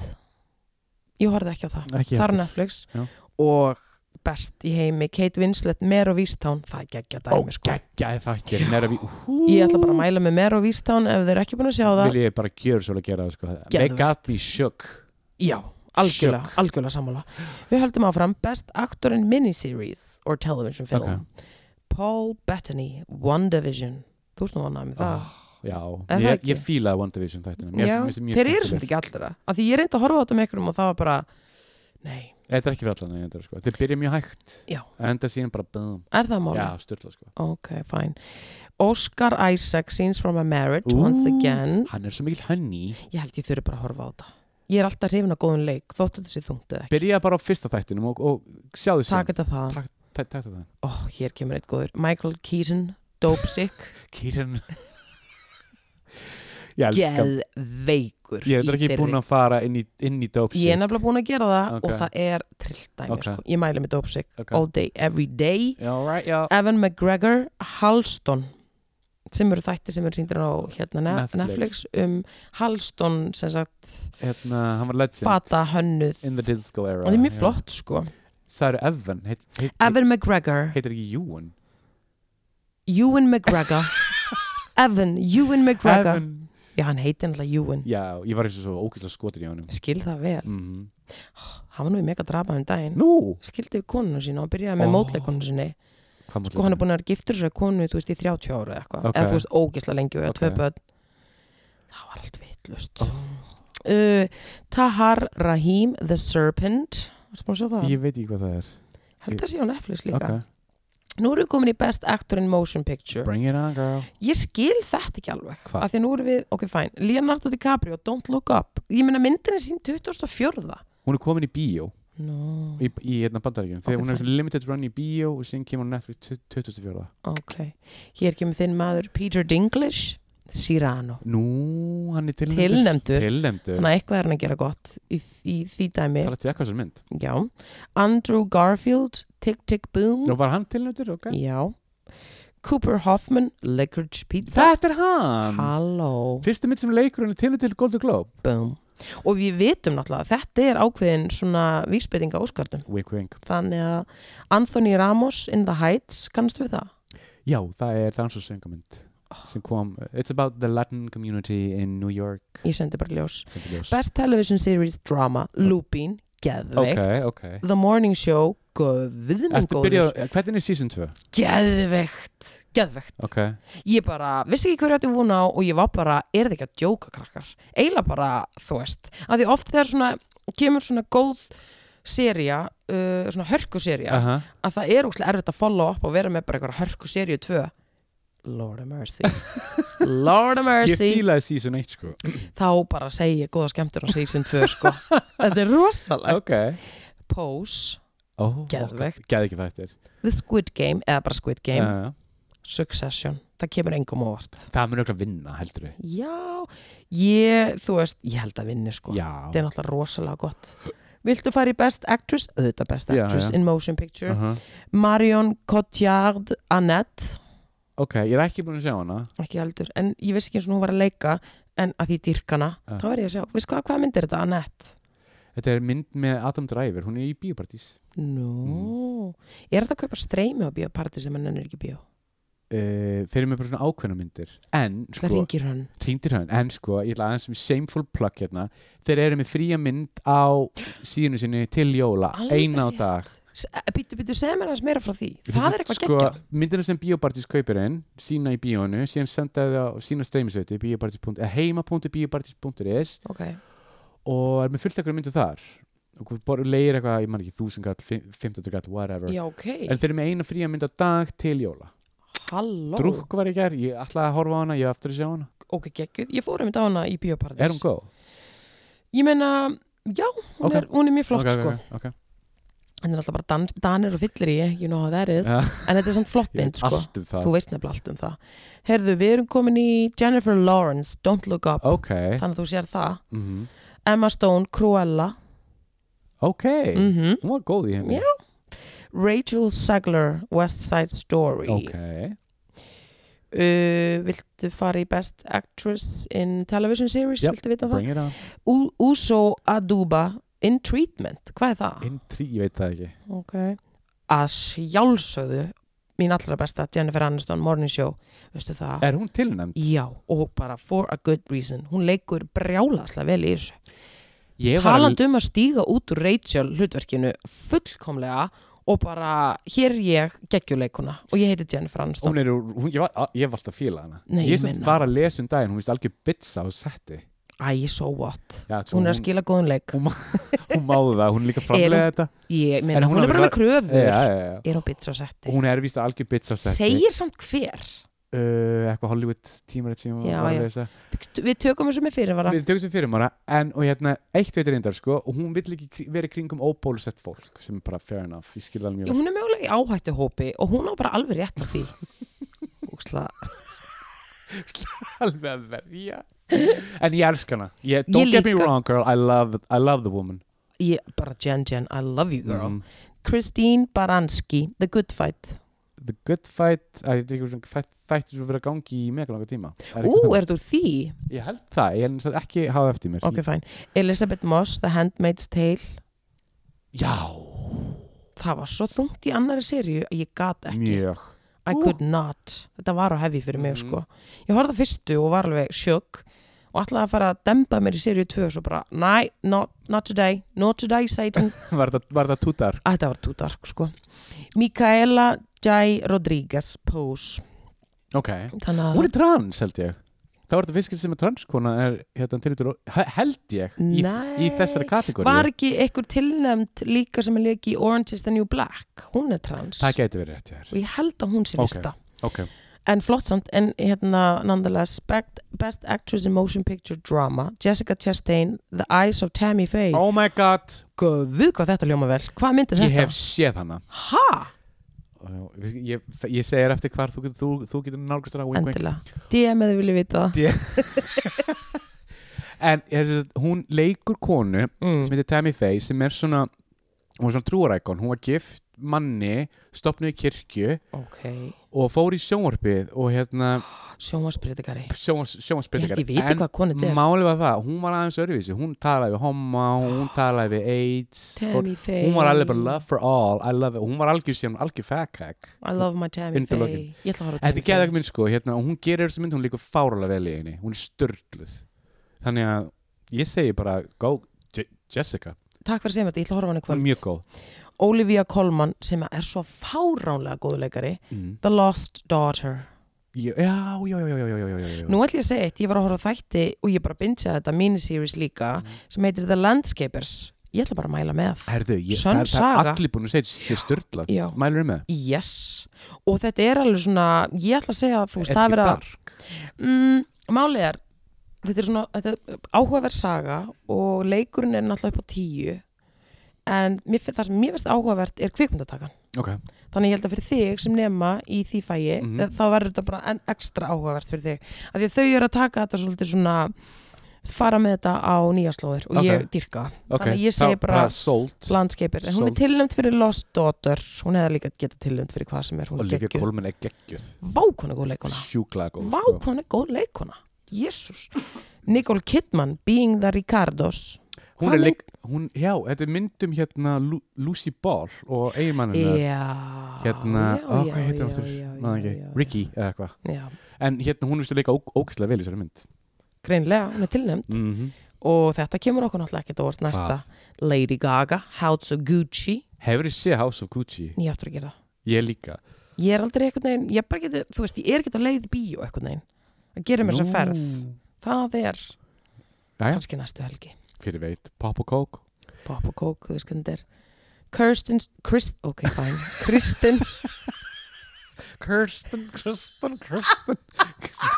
Ég horfði ekki á það
ekki
Það er
heldur.
Netflix
Já.
og best í heimi Kate Winslet, Mero Vístán það er geggja
Ó,
dæmi sko
geggjaði þættir Nera við- Hú.
Ég ætla bara að mæla með Mero Vístán ef þeir eru ekki búin að sjá það
vil ég bara gjöra svo að gera það sko they
Geðveikt.
got me shook
Já, algjörlega, algjörlega sammála Við höldum áfram Best Actor in Miniseries or Television Film Paul Bettany, WandaVision Þú veist nú annað með það
Ah,
Er
já,
það
ég,
ekki?
ég fílaði One Division þættina Mér
Já,
finnst- mér finnst mjög
Þeir eru
skemmtileg.
sem ekki allra af Því ég reyndi að horfa á þetta með ykkur og það var bara Nei,
Þetta er ekki fyrir allan eigendur sko. Þeir byrja mjög hægt
Já.
En enda síðan bara bum
er það mála?
Já, styrla sko
Ok, fine Oscar Isaac, Scenes from a Marriage
Ú.
Once Again
Hann er svo mikil hönni
Ég held ég þurfi bara að horfa á þetta Ég er alltaf hrifin að góðum leik, þótt þetta sé þungt eða ekki
Byrja bara á fyrsta þættinum og, og sjáðu sem
Takk þetta það
Takk. Takk þetta það
Ó, hér kemur eitt góður Michael Keaton, Dope Sick
Kýrin Ég elska
Geðveikur
Ég er
í
ekki
þeirri.
búin að fara inn í, inn í Dope
Ég er
Sick
nefnilega búin að gera það
Ok.
og það er trilltæmi
Ok.
sko. Ég mæli með Dope Sick
Ok.
all day, every day
Já, right, já
Evan McGregor, Halston sem eru þætti sem eru síndir á hérna, Netflix.
Netflix.
Netflix um Halston sem sagt
Hérna, hann var legend
fata hönnuð
In the disco era
og það er mjög
já.
flott sko
Það eru Evan heit, heit,
Evan McGregor,
Heitir ekki Ewan
Ewan McGregor Evan, Ewan McGregor
Evan
já hann heitir náttúrulega Ewan
Já, ég var eins og svo ókvæslega skotin í honum
skil það vel,
mm
hann var nú í mega drama um daginn
Nú
skildi við konuna sína og byrjaði með
Ó.
oh. mótleikonu sinni
Hvað má
sko hann er búin að vera giftur sér konu þú veist í 30 ára eða eitthvað
Ok.
eða þú veist ógisla lengi og eða
Ok.
tvö börn það var allt vitlust uh, Tahar Rahim The Serpent Varstu búin að sjá það?
Ég veit ekki hvað það er
held að sé á Netflix líka
Ok.
nú erum við komin í Best Actor in Motion Picture
Bring it on girl
ég skil þetta ekki alveg
Hvað?
af því að nú erum við, ok fæn, Leonardo DiCaprio Don't Look Up, ég meina myndin er sín 2004
Hún er komin í bíó
no.
í, í hérna bandaríkjum
Ok,
þegar hún er
fine.
svona limited run í bíó og síðan kemur hún Netflix tu- 2004
ok, hér kemur þinn maður Peter Dinklage, Cyrano
Nú, hann er tilnæmdur
tilnæmdur,
Tilnæmdur
þannig að eitthvað er hann að gera gott í, í því dæmi
Það er að tjekka þessar mynd
já. Andrew Garfield Tick Tick Boom
Nú var hann tilnæmdur, ok
já. Cooper Hoffman Liquorage Pizza
Þetta er hann
Halló,
Fyrstu mynd sem leikur hann er tilnæmdur til Golden Globe
boom og við vitum náttúrulega að þetta er ákveðin svona vísbeitinga óskartum
Wink wink
þannig að Anthony Ramos in the Heights, kannstu við það?
Já, það er dans og söngamynd sem kom It's about the Latin community in New York
Ég sendi bara ljós
Sendi ljós.
Best Television Series Drama, Lupin
Ok,
Geðveikt,
ok
The Morning Show Guðminn
Ertu byrjað,
góður
hvernig er season 2?
Geðveikt, geðveikt
Ok
Ég bara, vissi ekki hverju átti vona á og ég var bara, er það ekki að djóka krakkar Eila bara, þú veist að því oft þegar svona, kemur svona góð seria, uh, svona hörkuseria
Aha.
að það er úkslega erfitt að follow up og vera með bara eitthvað hörku seríu 2 Lord of mercy Lord of
Ég
mercy
fílaði season 1 sko
þá bara segi ég góða skemmtur á season 2 sko þetta er rosalegt
Ok
Pose,
oh,
Geðveikt.
Geðveikt þættir
The Squid Game eða bara Squid Game,
Já, já.
Succession það kemur engum óvart
Það mun auðvitað vinna, heldur við.
já, ég, þú veist, ég held að vinni sko
Já.
þetta er náttúrulega rosalega gott Viltu fara í Best Actress? Auðvitað Best
Já,
Actress
já.
in Motion Picture
Uh -huh.
Marion Cotillard Annette
Ok, ég er ekki búin að sjá hana.
ekki aldur, en ég vissi ekki eins og hún var að leika en að því dýrkana,
Ja.
þá er ég að sjá veist hvað, hvað myndir þetta, Annette?
Þetta er mynd með Adam Driver, hún er í Bíopartís.
Nú,
Mm.
er þetta að kaupa streymi á bíóparti sem hann ennur ekki í bíó?
Uh, þeir eru með bara svona ákveðna myndir. En,
Það
sko,
ringir hann
ringdir hann, en sko, ég ætla aðeins sem shameful plug hérna. Þeir eru með fría mynd á síðinu sinni til jóla,
Alveg
eina á
rétt.
dag.
Býtu, býtu, segð mér aðeins meira frá því
Þessi-
Það er eitthvað
sko,
geggjað
myndina sem Bíopartís kaupir inn, sína í bíónu, síðan sendaði það á sína streymisveitu, bíopartís.is, heima.bíopartís.is
Ok,
og er með fullt ekkur myndu þar bara leir eitthvað, ég man ekki, þúsund kall, fimm- 500 kall, whatever
já, ok,
en þeir eru með eina fría mynd á dag til jóla
halló
drukk var ég gær, ég ætlaði að horfa á hana ég er aftur að sjá hana,
ok, geggjuð, ég fór um þetta á hana í Bíóparadís
er hún góð?
ég meina, já, hún,
Ok.
er, hún er mjög flott
Ok, ok,
sko,
ok, ok.
en það er alltaf bara dan, danir og fyllir í, you know how that is
Ja.
en þetta er samt flott
Ég
mynd
veit
sko
allt um það
þú veist nefnilega allt um það herðu, við erum komin í Jennifer Lawrence Don't Look Up,
ok,
þannig að þú sér það
mm
Emma Stone, Cruella
ok
mm
hún var góð í henni
Já. Rachel Segler, West Side Story
ok,
uh, viltu fara í Best Actress in Television Series
Yep,
viltu vita það?
bring it on
U Uso Aduba in Treatment, hvað er það?
intri, ég veit það ekki
ok að sjálfsögðu mín allra besta Jennifer Aniston Morning Show veistu það?
er hún tilnæmd?
já, og bara for a good reason hún leikur brjálaslega vel í þessu
ég var að-
talandi um að stíga út úr Rachel hlutverkinu fullkomlega og bara hér er ég geggjuleikuna og ég heiti Jennifer Aniston
hún er, úr- hún, ég, var, að- ég var alltaf að fíla hana
Nei,
ég
ég
sem
meina.
var að lesa um daginn, hún vist algjör bitsa á setti
æ, so what
Já, svo
hún er að skila góðan leik
hún- hún máði það, hún er líka framlega þetta
ég
En
meina,
hún
hún, er
hafi
bara með kröfur
já, já, já.
er hún bitch á setti
hún er vist algjör bitsa á setti
segir samt hver
uh, eitthvað Hollywood tímarit sem
Já,
já, var
já.
að lesa
við tökum þessu með fyrirvara
við tökum sem fyrir mara en og hérna eitt veitir reyndar sko og hún vill ekki kri- vera í kringum óbólusett fólk sem er bara fair enough ég skil alveg
Jú,
mjög vel.
hún er mögulega í áhættuhópi og hún á bara alveg rétt á því Úksla.
alveg að verja en ég elsk hana ég,
Ég
don't get me
líka.
wrong girl I love, I love the woman
ég, bara Jen Jen, I love you girl
Mm.
Christine Baranski, The Good Fight
The Good Fight að ég veit ekki hvað þættir sem vera að gangi í mega langa tíma Er ekki
ú,
þannig?
er þetta úr því?
ég held það, ég held ekki hafa eftir mér
ok, fæn, Elizabeth Moss, The Handmaid's Tale
já,
það var svo þungt í annari sériu að ég gat ekki,
mjög
I could not þetta var á hefi fyrir mig
Mhm.
sko ég horfði á fyrstu og var alveg sjokk og ætlaði að fara að demba mér í sériu 2 og svo bara, næ, not, not today not today, Satan
var það, var það tútar
að þetta var too dark sko Mikaela Jai Rodríguez Pose
ok,
þannig að
hún er trans held ég það var þetta fiskist sem er transkona er hérna tilhjóttur, held ég í,
Nei.
í þessari kategóri
var ekki einhver tilnefnd líka sem er líka í Orange is the New Black hún er trans
það gæti verið rétt hér
og ég held að hún sé
Ok.
vista
ok,
en flott samt, en hérna nonetheless Best, best Actress in Motion Picture Drama Jessica Chastain, The Eyes of Tammy Faye
oh my god
Guð, hvað þetta ljóma vel, hvað myndi þetta?
ég hef séð hana
Ha?
Ó, ég, ég, ég segir eftir hvar þú, getur- þú, þú getur nálgast hana wink, wink.
Endilega, DM eða vilja vita það
en ég, þessi- hún leikur konu sem
mm.
heitir Tammy Faye sem er svona hún er svona trúarækon, hún var gift manni, stopnuði kirkju
Mm. Ok,
og fór í sjónvarpið og hérna
sjónvarspritikari Ég held
sjónvarspillingar
ég viti hvað konu þetta er
máli var það, hún var aðeins öðruvísi hún talaði við homma,
Ah.
hún talaði við AIDS
Tammy Faye
og sko, hún var alveg bara love for all I love it, hún var algjör síðan algjör faghack
I love my Tammy
Undirlokin.
Faye Ég ætla að horfa á
þetta
Tammy
er geðað ekki mynd sko, hérna, og hún gerir þessu mynd hún líka fáralega vel í henni, hún er störtluð þannig að ég segi bara go Je Jessica,
Takk fyrir að segja mér þetta, ég ætla að horfa á hann í
hún er
kvöld
mjög góð
Olivia Colman sem er svo fáránlega góðleikari
mm.
The Lost Daughter
já, já, já, já, já, já, já, já, já.
Nú ætla ég að segja eitt, ég var að horfa á þætti og ég bara bindja þetta miniseries líka sem heitir The Landscapers Ég ætla bara að mæla með
Herðu, ég,
Sönn
það, er- það er
saga.
allir búin að segja sé störtlað,
Já,
mælur með
yes Og þetta er alveg svona, ég ætla að segja þú
Er
veist, það er verið að
dark?
mm, Málið er þetta er svona þetta er áhugaverð saga og leikurinn er náttúrulega upp á tíu en mér, fin- það sem mér finnst áhugavert er kvikmyndatakan
Ok,
þannig ég held að fyrir þig sem nema í því fæi
Mhm.
þá verður þetta bara enn ekstra áhugavert fyrir þig af því að þau eru að taka þetta svolítið svona fara með þetta á nýja slóðir og
Ok.
ég dyrka það
ok,
Þannig að ég segi
Þá-
bara-
sold
landskeipir, en hún er
Svolít-
tilnæmt fyrir Lost Daughter, hún hefði líka geta tilnæmt fyrir hvað sem er, hún er
Olivia
geggjuð
Colman er geggjöð
vákona góð leikona
sjúklega góð
Vá,
sko.
hvað hún er góð leikona Jésús Nicole Kidman, Being the Ricardos
hún
Hvað
er leik, hún, já, þetta er myndum hérna Lu, Lucy Ball og eiginmann hennar
Já
hérna,
já,
á,
já,
hvað heitir
já,
hún aftur?
já,
Maður
já,
ekki,
já,
Ricky eða eitthvað
já.
en hérna hún er leika ók- ógeðslega vel í þessari mynd
Greinlega, hún er tilnæmt
mm -hmm.
Og þetta kemur okkur náttúrulega ekkert óvart næsta Lady Gaga, House of Gucci
hefur þið séð House of Gucci?
Ég aftur að gera það
ég líka
Ég er aldrei eitthvað neginn, ég bara geti, þú veist, ég er ekkert á leið í bíó eitthvað neginn Að gera mér þess að
Nú.
ferð Það er
Jæja.
kannski næstu helgi
fyrir veit, pop og kók
pop og kók, þú veist hvernig þetta er Kirsten, Krist, ok, fæn Kristen,
Kirsten, Kirsten, Kirsten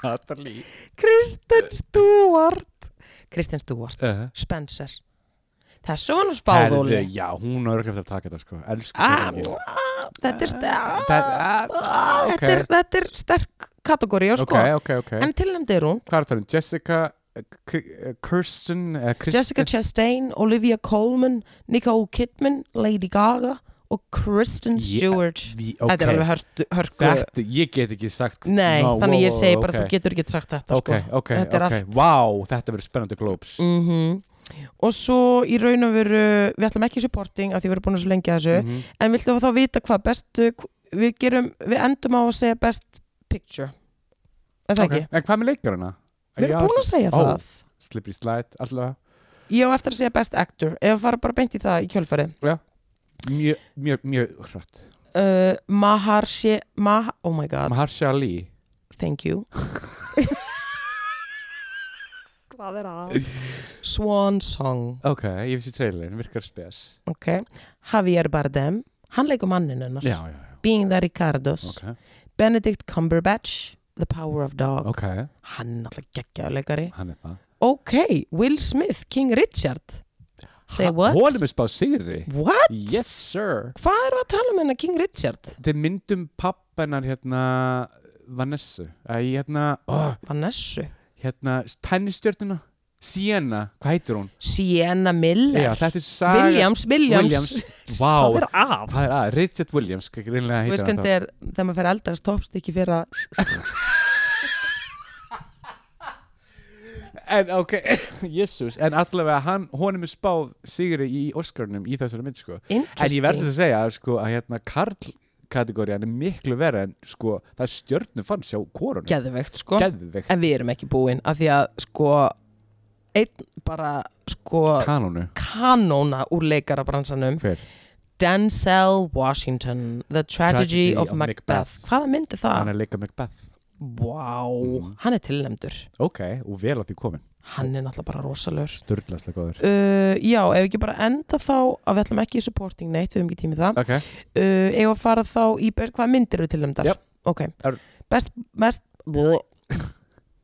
Natalie
Kristen Stewart Kristen Stewart,
uh,
Spencer Þessu var nú spáðóli
Já, hún er ekki eftir að taka þetta sko Elsku
ah,
Katrín mín.
ah, Þetta er
Ah,
sterk
það- ah, ah, ok.
þetta, er- þetta er sterk kategóri, já sko
Ok, ok, ok
En tilnæmdi er hún
Hvað er það um? Jessica eh, K- eh, Kirsten eh, Kristen-
Jessica Chastain, Olivia Colman Nicole Kidman, Lady Gaga og Kristen
Yeah.
Stewart
The-
Þetta er
ok.
alveg hörku, hörku.
Þetta, ég get ekki sagt
Nei,
No,
þannig
wow,
ég segi bara
wow,
að þú getur ekki sagt þetta
Ok,
sko.
ok,
Þetta er
ok
allt.
Vá, þetta verður spennandi glóps
mm Og svo í raun og veru við ætlum ekki supporting af því við erum búin að svo lengi að þessu
Mhm.
en viltu þá vita hvað bestu við gerum, við endum á að segja best picture Er það
Ok.
ekki?
En hvað með leikarana?
Við erum búin að segja
Ó.
það
Slippery slide, allavega
Ég á eftir að segja best actor ef við fara bara beint í það í kjölfæri
Mjög, mjög, mjög hratt
uh, Maharshi Mah Oh my god,
Maharsha Ali
thank you Hvað er að? Swan Song
Ok, ég vissi trailerin, virkar spes
okay. Javier Bardem hann leikur mannin hennar
Já, já, já,
Being the Ricardos
ok
Benedict Cumberbatch The Power of Dog
Ok,
hann er náttúrulega geggjaðuleikari
hann er það
ok, Will Smith, King Richard say
Ha-
what?
Honum er spáð sigri
what?
Yes, sir
hvað erum við að tala um hennar King Richard?
Þeir myndum pappenar hérna Vanessa Æ, hérna, oh,
Vanessu
hérna, tennistjörnuna Sienna, hvað heitir hún?
Sienna Miller
Já, þetta er saga
Williams, Williams,
Williams.
hvað
Vá,
er af?
hvað er að? Richard Williams, greinlega
Þú
heitir
veist
hann
hvernig þetta er þegar maður fer að eldast toppst ekki fyrir að
En ok, jesús En allavega hann, honum er spáð sigri í Oscarnum í þessari mynd sko En ég verðs
Interesting.
að segja sko, að hérna Karl kategóriðan er miklu verið en sko það er stjörnu fann sjá korunum
geðvegt sko
Geðvegt
en við erum ekki búin af því að sko einn bara sko
Kanonu
kanóna úr leikara
Hver?
Denzel Washington The Tragedy,
Tragedy
of
of
Macbeth.
Macbeth.
hvaða mynd er það?
Hann er leika Macbeth
Vá, hann er tilnæmdur
Ok, og vel að því komin
hann er náttúrulega bara rosalur
Sturlaslega góður
uh, já, ef ekki bara enda þá að við ætlum ekki í supporting neitt, við höfum ekki tími í það
Ok,
uh, eigum að fara þá í ber, hvaða myndir eru tilnæmdar?
Jöp.
ok,
Er-
best best,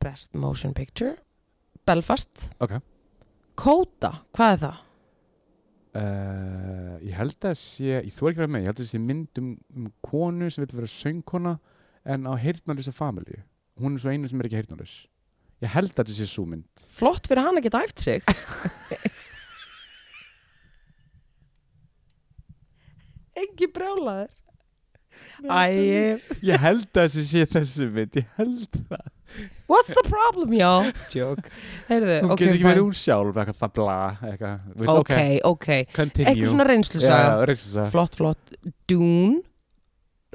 best motion picture Belfast
Ok.
Kóta, hvað er það?
uh, ég held að sé ég þú er ekki verið með, ég held að sé mynd um, um konu sem vil vera söngkona en á heyrnarlösa familju hún er svo einu sem er ekki heyrnarlös ég held að þetta sé svo mynd
flott fyrir hann að geta æft sig ekki brjálaður Æ,
ég held að þetta sé þessu mynd ég held það,
what's the problem, já Jók, heyrðu,
hún
ok,
getur ekki
fine.
verið hún sjálf eitthvað það bla, eitthvað, þú veist,
ok, ok
ok, continue
eitthvað svona reynslusaga,
Já, reynslusaga.
flott, flott Dune,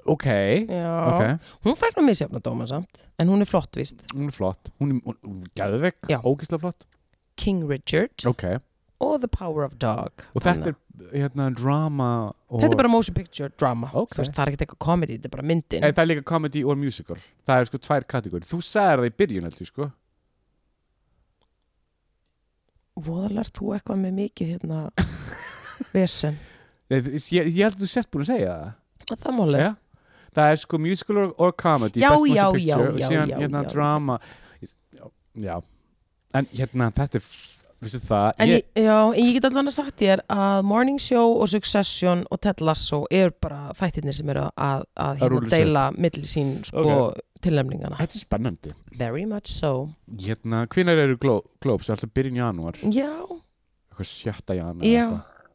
ok,
já
ok
hún fæk nú misjafna dóma samt, en hún er flott vist
hún er flott, hún er hún- hún er gæðvegg,
Já.
ógislega flott
King Richard
ok,
og The Power of Dog
og þetta er hérna drama og
þetta er bara motion picture drama
Ok.
Þú veist, það er ekkert eitthvað comedy, þetta er bara myndin
En Eh, það er líka comedy og musical Það er sko tvær kategóri Þú sagði það í byrjun heldur sko
voðalar þú eitthvað með mikið hérna vesen
Nei, þú- ég, ég held að þú sért búin að segja það
Og það máli
Já. Það er sko musical og, og comedy
Já,
Best Motion
já,
Picture,
já,
og
já,
síðan,
já,
hérna,
já.
drama Já En hérna þetta er f- Vissu það
en,
ég,
ég, já, en ég get allan að sagt þér að Morning Show og Succession og Ted Lasso er bara þættirnir sem eru að, að
Að
hérna
rúlla sér.
deila milli sín sko tilnefningana
Þetta er spennandi
Very much so
Hérna, hvenær eru gló, glóps? Alltaf byrjun janúar
Já,
Eitthvað sjötta janúar
já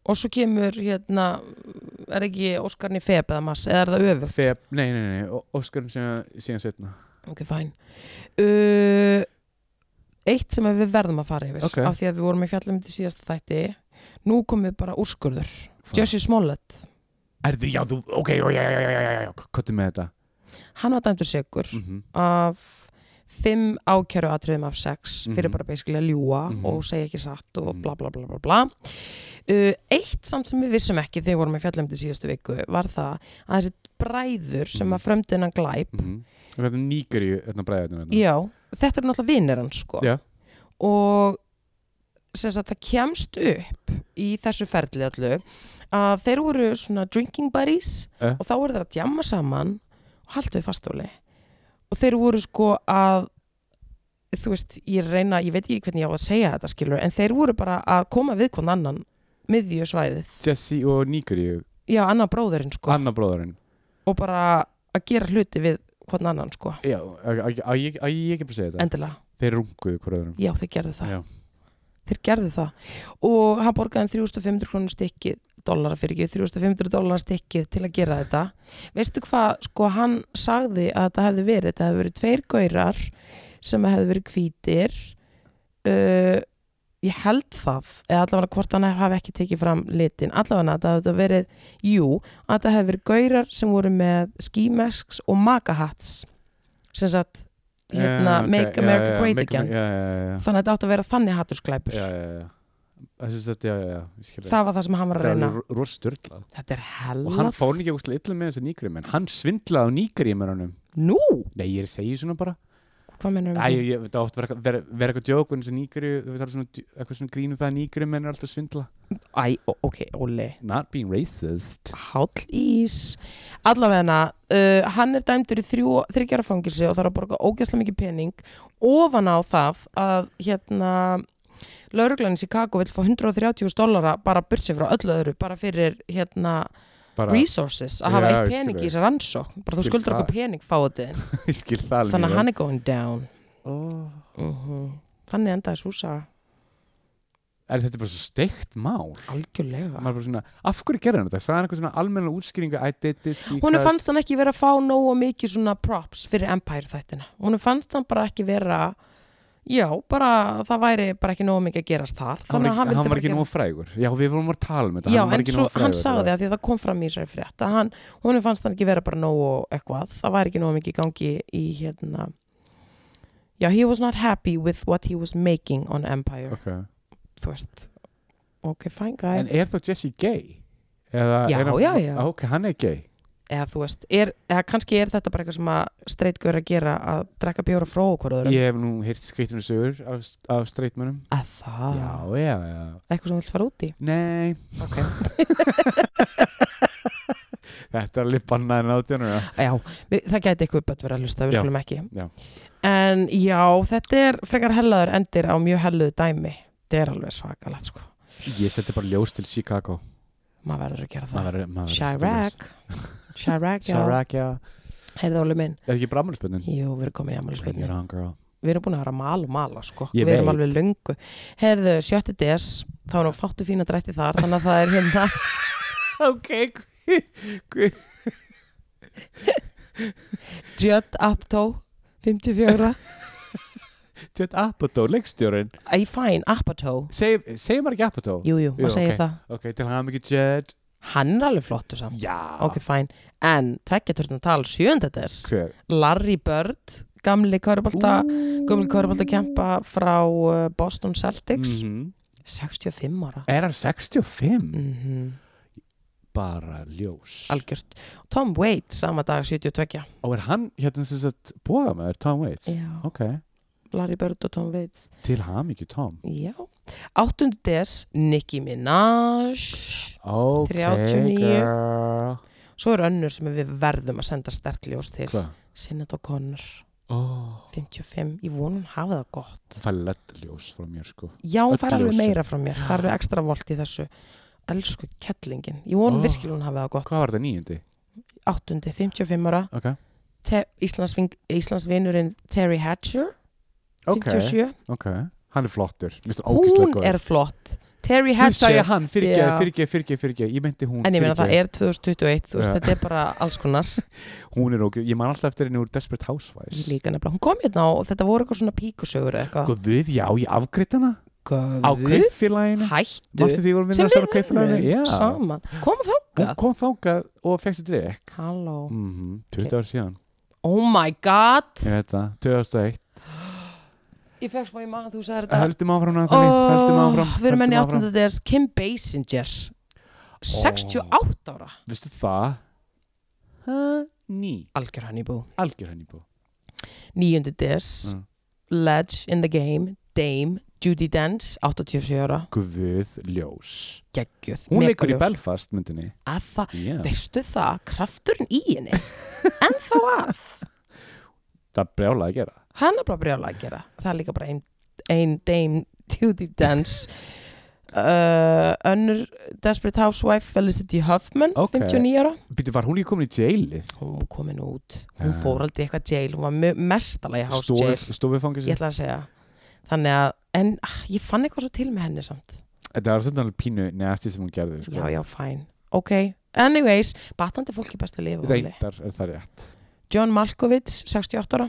Og svo kemur hérna er ekki Óskarni Feb eða Mass eða er það öfugt?
Feb, nei, nei, nei, nei Óskarinn síðan, síðan setna
Ok, fæn uh, Eitt sem að við verðum að fara yfir
Ok.
af því að við vorum í fjallum til síðasta þætti Nú komum við bara úrskurður Jesse Smollett,
Er þið, já, þú, ok, já, já, já, já, já, já, já Kottu með þetta
hann var dæmdur segur
mm -hmm.
af fimm ákjæru atriðum af sex fyrir
Mhm.
bara basically að ljúa
Mhm.
og segja ekki satt og
Mhm.
bla bla bla bla bla uh, Eitt samt sem við vissum ekki þegar við vorum í fjallum til síðustu viku var það að þessi bræður sem
Mhm.
að frömdu hennan glæp
-hmm. Þetta er nýgari hérna bræðinu hérna.
Já, þetta er náttúrulega vinnir hans sko
Já.
og sem sagt það kemst upp í þessu ferli allu að þeir voru svona drinking buddies
Eh.
og þá voru þeir að djamma saman og haldu við fastóli og þeir voru sko að þú veist, ég reyna, ég veit ekki hvernig ég á að segja þetta skilur, en þeir voru bara að koma við hvern annan miðju svæðið
Jesse og Nýkuríu,
já, annar bróðurinn sko
annar bróðurinn
og bara að gera hluti við hvern annan sko,
Já, að að- að ég að ég ekki bara segja þetta
endilega
Þeir runguðu hver öðrum
já, þeir gerðu það
Já.
þeir gerðu það og hann borgaði þeim 3500 krónur stykkið dollara fyrir ekki, 3500 dollara stykkið til að gera þetta veistu hvað, sko hann sagði að þetta hefði verið þetta hefði verið tveir gaurar sem hefði verið hvítir uh, ég held það eða allavega hvort hann hafi ekki tekið fram litin allavega að þetta hefði verið jú, að þetta hefði verið gaurar sem voru með skímesks og makahats sem sagt hérna,
Eh, ok,
Make America
já, já, já,
Great
Make
Again
Amer- Já, já, já,
þannig að þetta átti að vera þannig hattusklæpur
já, já, já, já. Það sést þetta, já, já, já, ég skil
það var það sem hann var að reyna
rosturla
þetta er
og hann
hellað
fór ekki úrslega illa með þessi nýgrið en hann svindlaði á nýgrið með honum
nú,
nei ég er að segja svona bara
hvað mennum
Æ, ég, ég, það átt að vera, vera, vera eitthvað um djók en þessi nýgrið það er svona dj- eitthvað svona grínu það að nýgrið menn er alltaf að svindla
Æ, ó- ok, Óli
not being racist
Háll Ís allavega uh, hann er dæmdur í þrjú, þryggjara fangilsi og þarf að borga ógæslega mikið pening ofan á það að hérna lauruglan í Chicago vil fá 130.000 dollara bara byrsi frá öllu öðru bara fyrir hérna
bara
resources að hafa
Já,
eitt
ég skil
pening í
það.
þessar rannsókn bara þú
Skil
skuldur
það.
okkur pening fáið þið
ég skil það alveg
þannig að hann er going down
oh.
mm þannig endaði Súsa
er þetta bara svo steikt mál
algjörlega
maður bara svona af hverju gerði hann þetta sagði hann eitthvað svona almenna útskýringu I did this because
Hún fannst hann ekki vera að fá nógu mikið svona props fyrir Empire þættina. Hún fannst hann bara ekki vera, já, bara það væri bara ekki nógu mikið að gerast þar.
hann
Þannig að hann
var ekki,
vildi
hann var
bara
ekki
gera-
nógu frægur já við vorum að tala um þetta
Já,
hann var
en
ekki
svo
nógu frægur
hann sagði að því að það kom fram í sér frétt að hann, hún fannst hann ekki vera bara nógu eitthvað, það væri ekki nógu mikið í gangi í hérna já, he was not happy with what he was making on Empire,
okay.
þú veist ok, fine guy,
en er þá Jesse gay? Eða,
Já,
er hann,
já, já.
ok, hann er gay
eða þú veist er, eða kannski er þetta bara eitthvað sem að streitgur að gera að drekka bjóra frá okkur öðrum
ég hef nú heyrt skrítinu sögur af, af streitmönnum
Að það?
já, já, já
Eitthvað sem þú vilt fara út í?
nei,
Ok.
þetta er alveg bannað en átjónur
Já, við, það gæti eitthvað bett verið að hlusta, við
Já,
skulum ekki.
já.
En já, þetta er frekar hellaður endir á mjög helluðu dæmi. Þetta er alveg svakalegt, sko.
ég seti bara ljós til Chicago
Maður verður að gera það.
maður, er- maður er að setja ljós.
Chirac. Chirac, já.
Chirac, já
Heyrðu Óli minn.
er ekki bramálspönnin?
Jú, við erum komin í
Bring it
amalisbyrni.
on girl
Við erum búin að vera að mala og mala, sko.
Ég
við erum
veit.
alveg lungu. Heyrðu, 7. DS, þá er nú fáttu fína drætti þar, þannig að það er hérna.
ok, hver- hver-
Judd Aptó, 54.
Judd Apatow, leikstjórin
Æ, fæn, Aptó.
Seg- segir maður ekki Apatow?
Jú, jú,
Jú,
maður segir
ok.
það.
ok, til hann ekki Judd
Hann er alveg flottur samt.
já,
ok, fæn, en tvekkjartörnum tal sjöndades,
hver?
Larry Bird gamli körubalta gömul körubalta kempa frá uh, Boston Celtics,
Mhm.
65 ára
er hann 65?
mm -hmm.
bara ljós
algjörst, Tom Waits sama dag 72,
og er hann hérna sem sagt bóða með þér Tom Waits
já,
ok,
Larry Bird og Tom Waits
til ham ekki Tom
já, 8. des Nicki Minaj
ok
39.
girl
svo eru önnur sem við verðum að senda stertljós til,
hvað?
Sinnet og Connor
Oh.
55, ég vonum hafa það gott
það er lett ljós frá mér sko
Já, hún
Öll
fær alveg
ljósin.
meira frá mér Það eru ekstra volt í þessu Elsku kettlingin, ég vonum
Oh.
virkilega hún hafi það gott
hvað var þetta nýjandi?
Áttundi, 55 ára
ok,
Ter Íslandsving- Íslandsvinurinn Terry Hatcher
ok,
57,
ok hann er flottur Mr.
hún er flott Terry
Þú sagði
Hatcher
hann, fyrirgeð,
Já.
fyrirgeð, fyrirgeð, fyrirgeð, ég meinti hún
En ég meina það
fyrirgeð.
er 2021, þú veist,
Já.
þetta er bara alls konar
Hún er ok, ég man alltaf eftir henni úr Desperate
Ég
Housewives
líka nefnilega, hún kom hérna og þetta voru eitthvað svona píkusögur eða eitthvað
Guð, Sko, já, ég afgreitt hana Sko, Á
Guð,
kaupfélaginu
hættu
Mástu því voru minna
Sem
að svona
við
kaupfélaginu Já,
erum saman Kom
hún
þangað
kom þákað og fegst þetta dreg
Halló,
mm 20 ár síðan,
oh my god
ég veit það 2001,
Ég fekk smá í maður, þú sagði þetta
höldum áfram að þannig höldum
Oh,
áfram,
við erum enn í
höldum
8. des Kim Basinger 68 ára
Vistu það? Ný,
algjör hann í bú
algjör henni bú
9. des
Mm.
Ledge in the Game Dame Judy Dance, 87 ára
Guð ljós
geggjöð,
Hún leikur í
megaljós.
Belfast myndinni
að það,
yeah.
veistu það, krafturinn í henni en þá að
Það brjála að gera
hann er bara brjála að gera það er líka bara ein, ein Dame Judy Dance uh, önnur Desperate Housewife Felicity Huffman,
Ok.
59 ára
Býtu, var hún líka komin í jailið?
hún var komin út, hún
Ah.
fór aldrei í eitthvað jail hún var me- mestalagi house jail
Stofufangis
ég ætla að segja þannig að, en ah, ég fann eitthvað svo til með henni samt
Þetta var svolítið alveg pínu næsti sem hún gerði sko.
já, já, fæn, ok anyways, batandi fólki best að lifa Óli.
Reyndar er það rétt
John Malkovich, 68 ára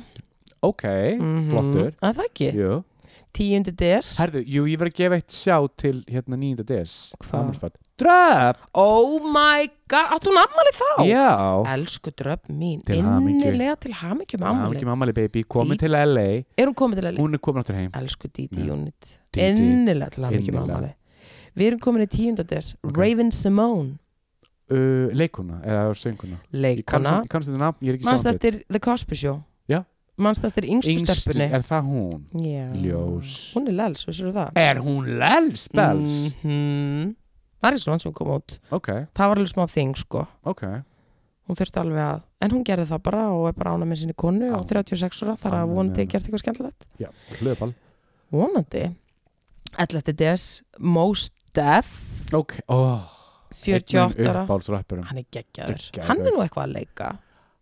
Ok,
Mm.
flottur
að það ekki,
Jú.
tíundi DS
Herðu, jú, ég verð að gefa eitt sjá til hérna 9. des
Hvað?
Dröp!
oh my god, áttu hún ammalið þá
Já
elsku dröfn mín,
Sko. Til hamingju.
innilega til hamingju með
Mamma
ammalið,
ekki mammali baby, komin
Dí-
til LA
er hún komin til að
Hún er komin áttur heim
elsku Didi
Já.
Unit
Dídí.
innilega til hamingju með
Innilega.
ammalið við erum komin í tíunda DS
Ok.
Raven Simone,
uh, Leikuna, eða sönguna Ég
leikona
kannst þetta nafn, ég er ekki
mannst
sjáum
eftir The Cosby Show
Já.
mannst eftir yngstu stelpunni
Er það hún?
Já.
Ljós
hún er lels, vissir þú það
Er hún lels, bels?
Mhm. það er svona sem kom út
Ok,
það var alveg smá þing sko
ok
hún þurfti alveg að, en hún gerði það bara og er bara ána með sinni konu og
Ánægð.
36 ára þar að
Ánægð með
vonandi
hana.
gert eitthvað skemmtilegt
Já, hlöðbal
vonandi 11. DS, Most Def
Ok, óh
48 ára,
uppáhaldsrappurum
hann er
Geggjaður.
geggjaður hann er nú eitthvað að leika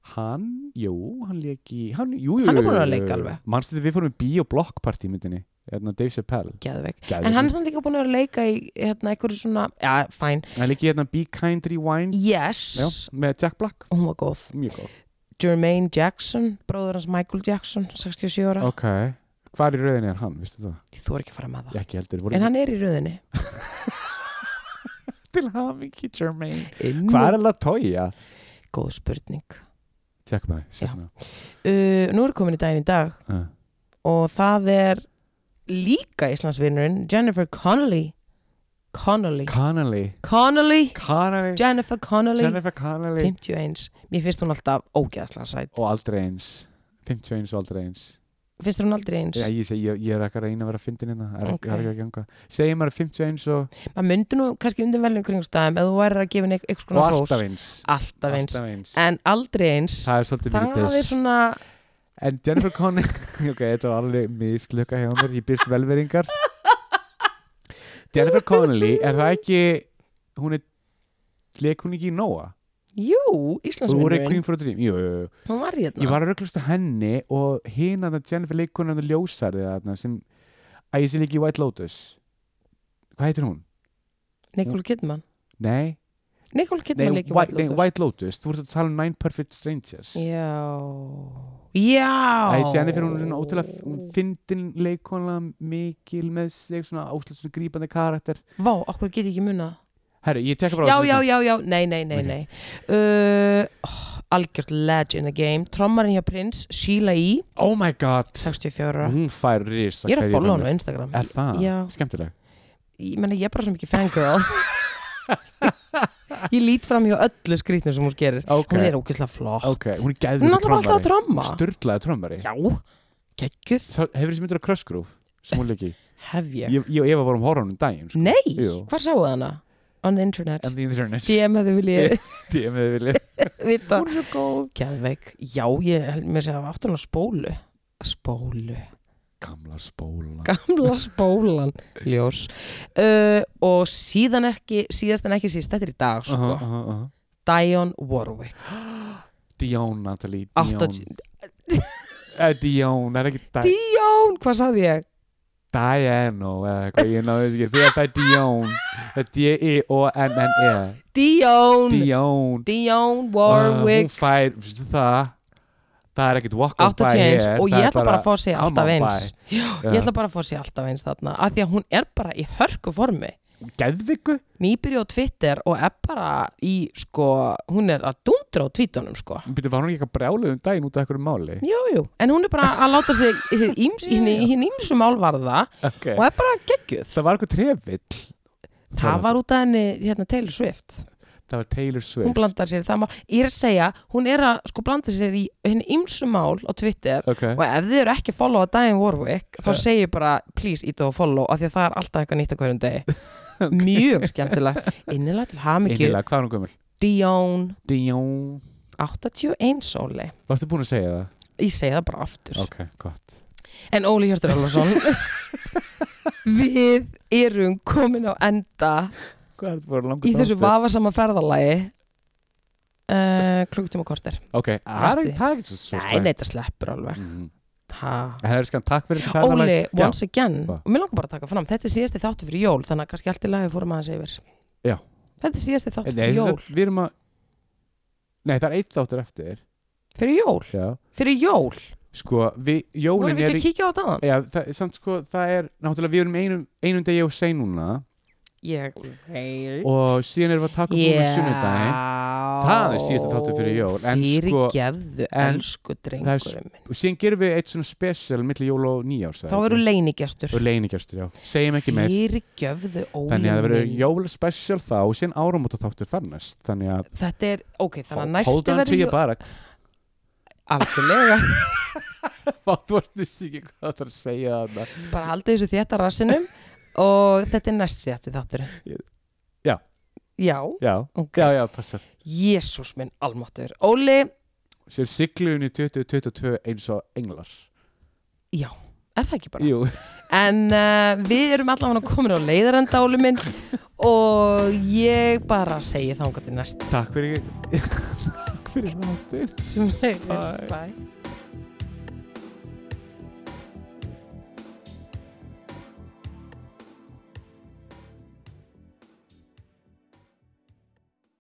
Hann, jú, hann leik í hann, jú, jú,
Hann er
jú,
búinn að
jú,
leika
jú.
alveg.
Manstu þetta við fórum í bíó blokkpartí myndinni Hérna Dave Chappelle
geðveik,
Geðveik.
en hann er samt líka búin að vera að leika í hérna einhverju svona, já, fæn
Hann leik í hérna Be Kind Rewind
yes,
Já, með Jack Black
og hún var góð
Mjög góð
Jermaine Jackson, bróður hans Michael Jackson 67 ára,
Ok, hvar í rauðinni er hann, veistu það?
þú er ekki að fara með það
Ég ekki heldur, voru
Ah. en hann er í röðinni
til hafingi Jermaine Hvað
Innan-
er Latoya?
góð spurning
Tjekk maður, setna
uh, nú er komin í daginn í dag
uh,
og það er líka Íslandsvinnurinn Jennifer Connelly Connelly,
Connelly
Connelly
Connelly
Jennifer Connelly,
Jennifer Connelly
51 mér finnst hún alltaf ógeðslega sætt
Og aldrei eins 51 og aldrei eins
finnst þér hún aldrei eins
Já, ég, segi, ég, ég er ekki að reyna að vera að fyndin hérna Það er
Ok.
ekki- það er ekki að ganga Segir maður 51 og,
maður myndi nú kannski undir veljum kringstæðum ef þú væri að gefa henni einhvers
og
konar hrós
alltaf eins
alltaf eins,
Alltaf eins.
en aldrei eins
Það er svolítið
það
mjög
er
þess
svona
En Jennifer Connelly Ok, þetta var alveg mislöka hjá mér Ég byrst velveringar Jennifer Connelly, er það ekki Hún er Leik hún ekki í Nóa?
jú,
Hún er
Íslandsvinnurinn
Queen for a Dream Jú, jú, jú
hún var
Ég
hérna
var að rögglast að henni og hinn að Jennifer leikur hann að ljósarði þarna sem að ég sé líka í White Lotus Hvað heitir hún?
Nicole Kidman
Nei,
Nicole
nei,
Kidman
White,
leikir White
nei,
Lotus
White Lotus Þú ert að tala um Nine Perfect Strangers
já já
Æ, Jennifer hún er svona ótrúlega hún fyndin leikona mikil með sig svona ótrúlega svona grípandi karakter
Vá, okkur get ég ekki munað
Herru, ég tekka bara á
Já,
þessu
já,
seinna.
já, já, nei, nei, nei,
Ok.
nei uh, oh, Algjört ledge in the game Trommarinn hjá Prince, Sheila E
Oh my god
64 ára
Hún fær risa
Ég er að
kveðju
follow
frá
hann á
mér.
Instagram
Er það?
Já.
Skemmtileg
Ég menna, ég er bara svo mikið fangirl Ég lít fram hjá öllu skrýtnu sem hún gerir
Ok.
Hún er ókislega flott
Ok, hún er gæðið
Hún er náttúrulega alltaf að tromma
Sturlaði trommari
Já, geggjuð
Sá- Hefur þessi myndur á Crush Groove sem hún leiki
Hef ég
Ég ég og Eva vorum horfum um daginn sko.
Nei,
Jú.
hvar sáuð hana? On the internet
And the internet
DM hefði viljið
DM eða vilja
vita Hún er svo góð Gæðveik, já, ég held mér að segja aftur hún á spólu Spólu
Gamla spóla
gamla spólan ljós uh, og síðan ekki síðast en ekki síst, þetta er í dag sko.
Aha, aha, aha.
Dionne Warwick
Dion, Natalie Dion
80
Eh, Dion, það er ekki Di
Dion, hvað sagði ég?
Diano eða eitthvað, ég náðu þessu ekki því að það er Dion það er D-I-O-N-N-E
Dion Dion,
Dion Øh, Ah,
Warwick
hún fær, veistu það það er ekkit walk on by
81
hér
og
það
ég
er
ætla bara að fá að segja
come
alltaf
on
eins
by.
ég ætla bara að fá að segja alltaf eins þarna af því að hún er bara í hörku formi
Geðviku?
nýbyrju á Twitter og er bara í sko, hún er að dundra á tvítunum sko
Býttu, var hún ekki eitthvað brjáluð um daginn út af einhverju máli?
Jú, jú, en hún er bara að láta sig hinn íms, hin ímsu málvarða og
Okay.
er bara geggjuð
Það var eitthvað trefill
Það var út af henni, hérna, Taylor Swift
það var Taylor Swift
hún blandar sér í það mál ég er að segja, hún er að sko blanda sér í henni ymsum mál á Twitter
okay.
og ef þið eru ekki að followa Diane Warwick þá
Ja.
segi ég bara please ít og follow af því að það er alltaf eitthvað nýtt á hverjum degi mjög skemmtilegt innilega til hamingju
Innilega, hvað er hún gömul?
Dion
Dion
81 Óli
Varstu búin að segja það?
ég segi það bara aftur
Ok, gott
en Óli Hjörtur Ólason við erum komin á enda
Hvað er þetta búin að langa
í þessu vafasama ferðalagi uh, klukkutíma og korter
Ok, það er
Næsti.
það er ekki svo svo
nei,
slæmt.
nei, þetta sleppur alveg
Mhm.
ha.
En það er skan takk fyrir þetta
Óli,
ferðalag. Já,
once again
Hva?
og mér langar bara að taka fram, þetta er síðasti þáttu fyrir jól þannig að kannski allt í lagi fórum aðeins yfir
Já.
þetta er síðasti þáttu
Nei,
fyrir jól
þetta- við erum að Nei, það er eitt þáttur eftir
fyrir jól,
Já
fyrir jól
Sko, við,
vorum
jólin
við
er
ekki að
í
kíkja á þetta áðan?
Já, það, samt sko, það er Náttúrulega við erum einum, einum degi á sein núna
ég hei
Og síðan erum við að taka upp yeah. sunnudaginn Það er síðasti þáttur fyrir jól, en
fyrir
sko-
gefðu,
en
elsku drengurum minn
Og síðan gerum við eitt svona spesial Milli jól og nýjárs
þá eru leinigestur
Og leinigjastur, já Segjum ekki meir
fyrir gefðu
Þannig að það verður
Óli
jólspecial þá og síðan áramóta þáttur farnest Þannig að
þetta er, ok, þannig að
Hold
næsti
on to
verður
your
jó-
barracks
algjörlega,
Fátt varstu ekki hvað það er að segja þarna
bara haldið þessu þetta rassinum og þetta er næst síðasti þáttur
Já.
já,
Já,
ok,
já, já, passa
jésús minn almáttur Óli,
Sér sigluðin í 2022 eins og englar
er það ekki bara?
Jú,
En uh, við erum allavega komin á leiðarenda Óli minn og ég bara segi þangað til næst
takk fyrir Takk fyrir þáttir
sem leiðir,
Bye.
bye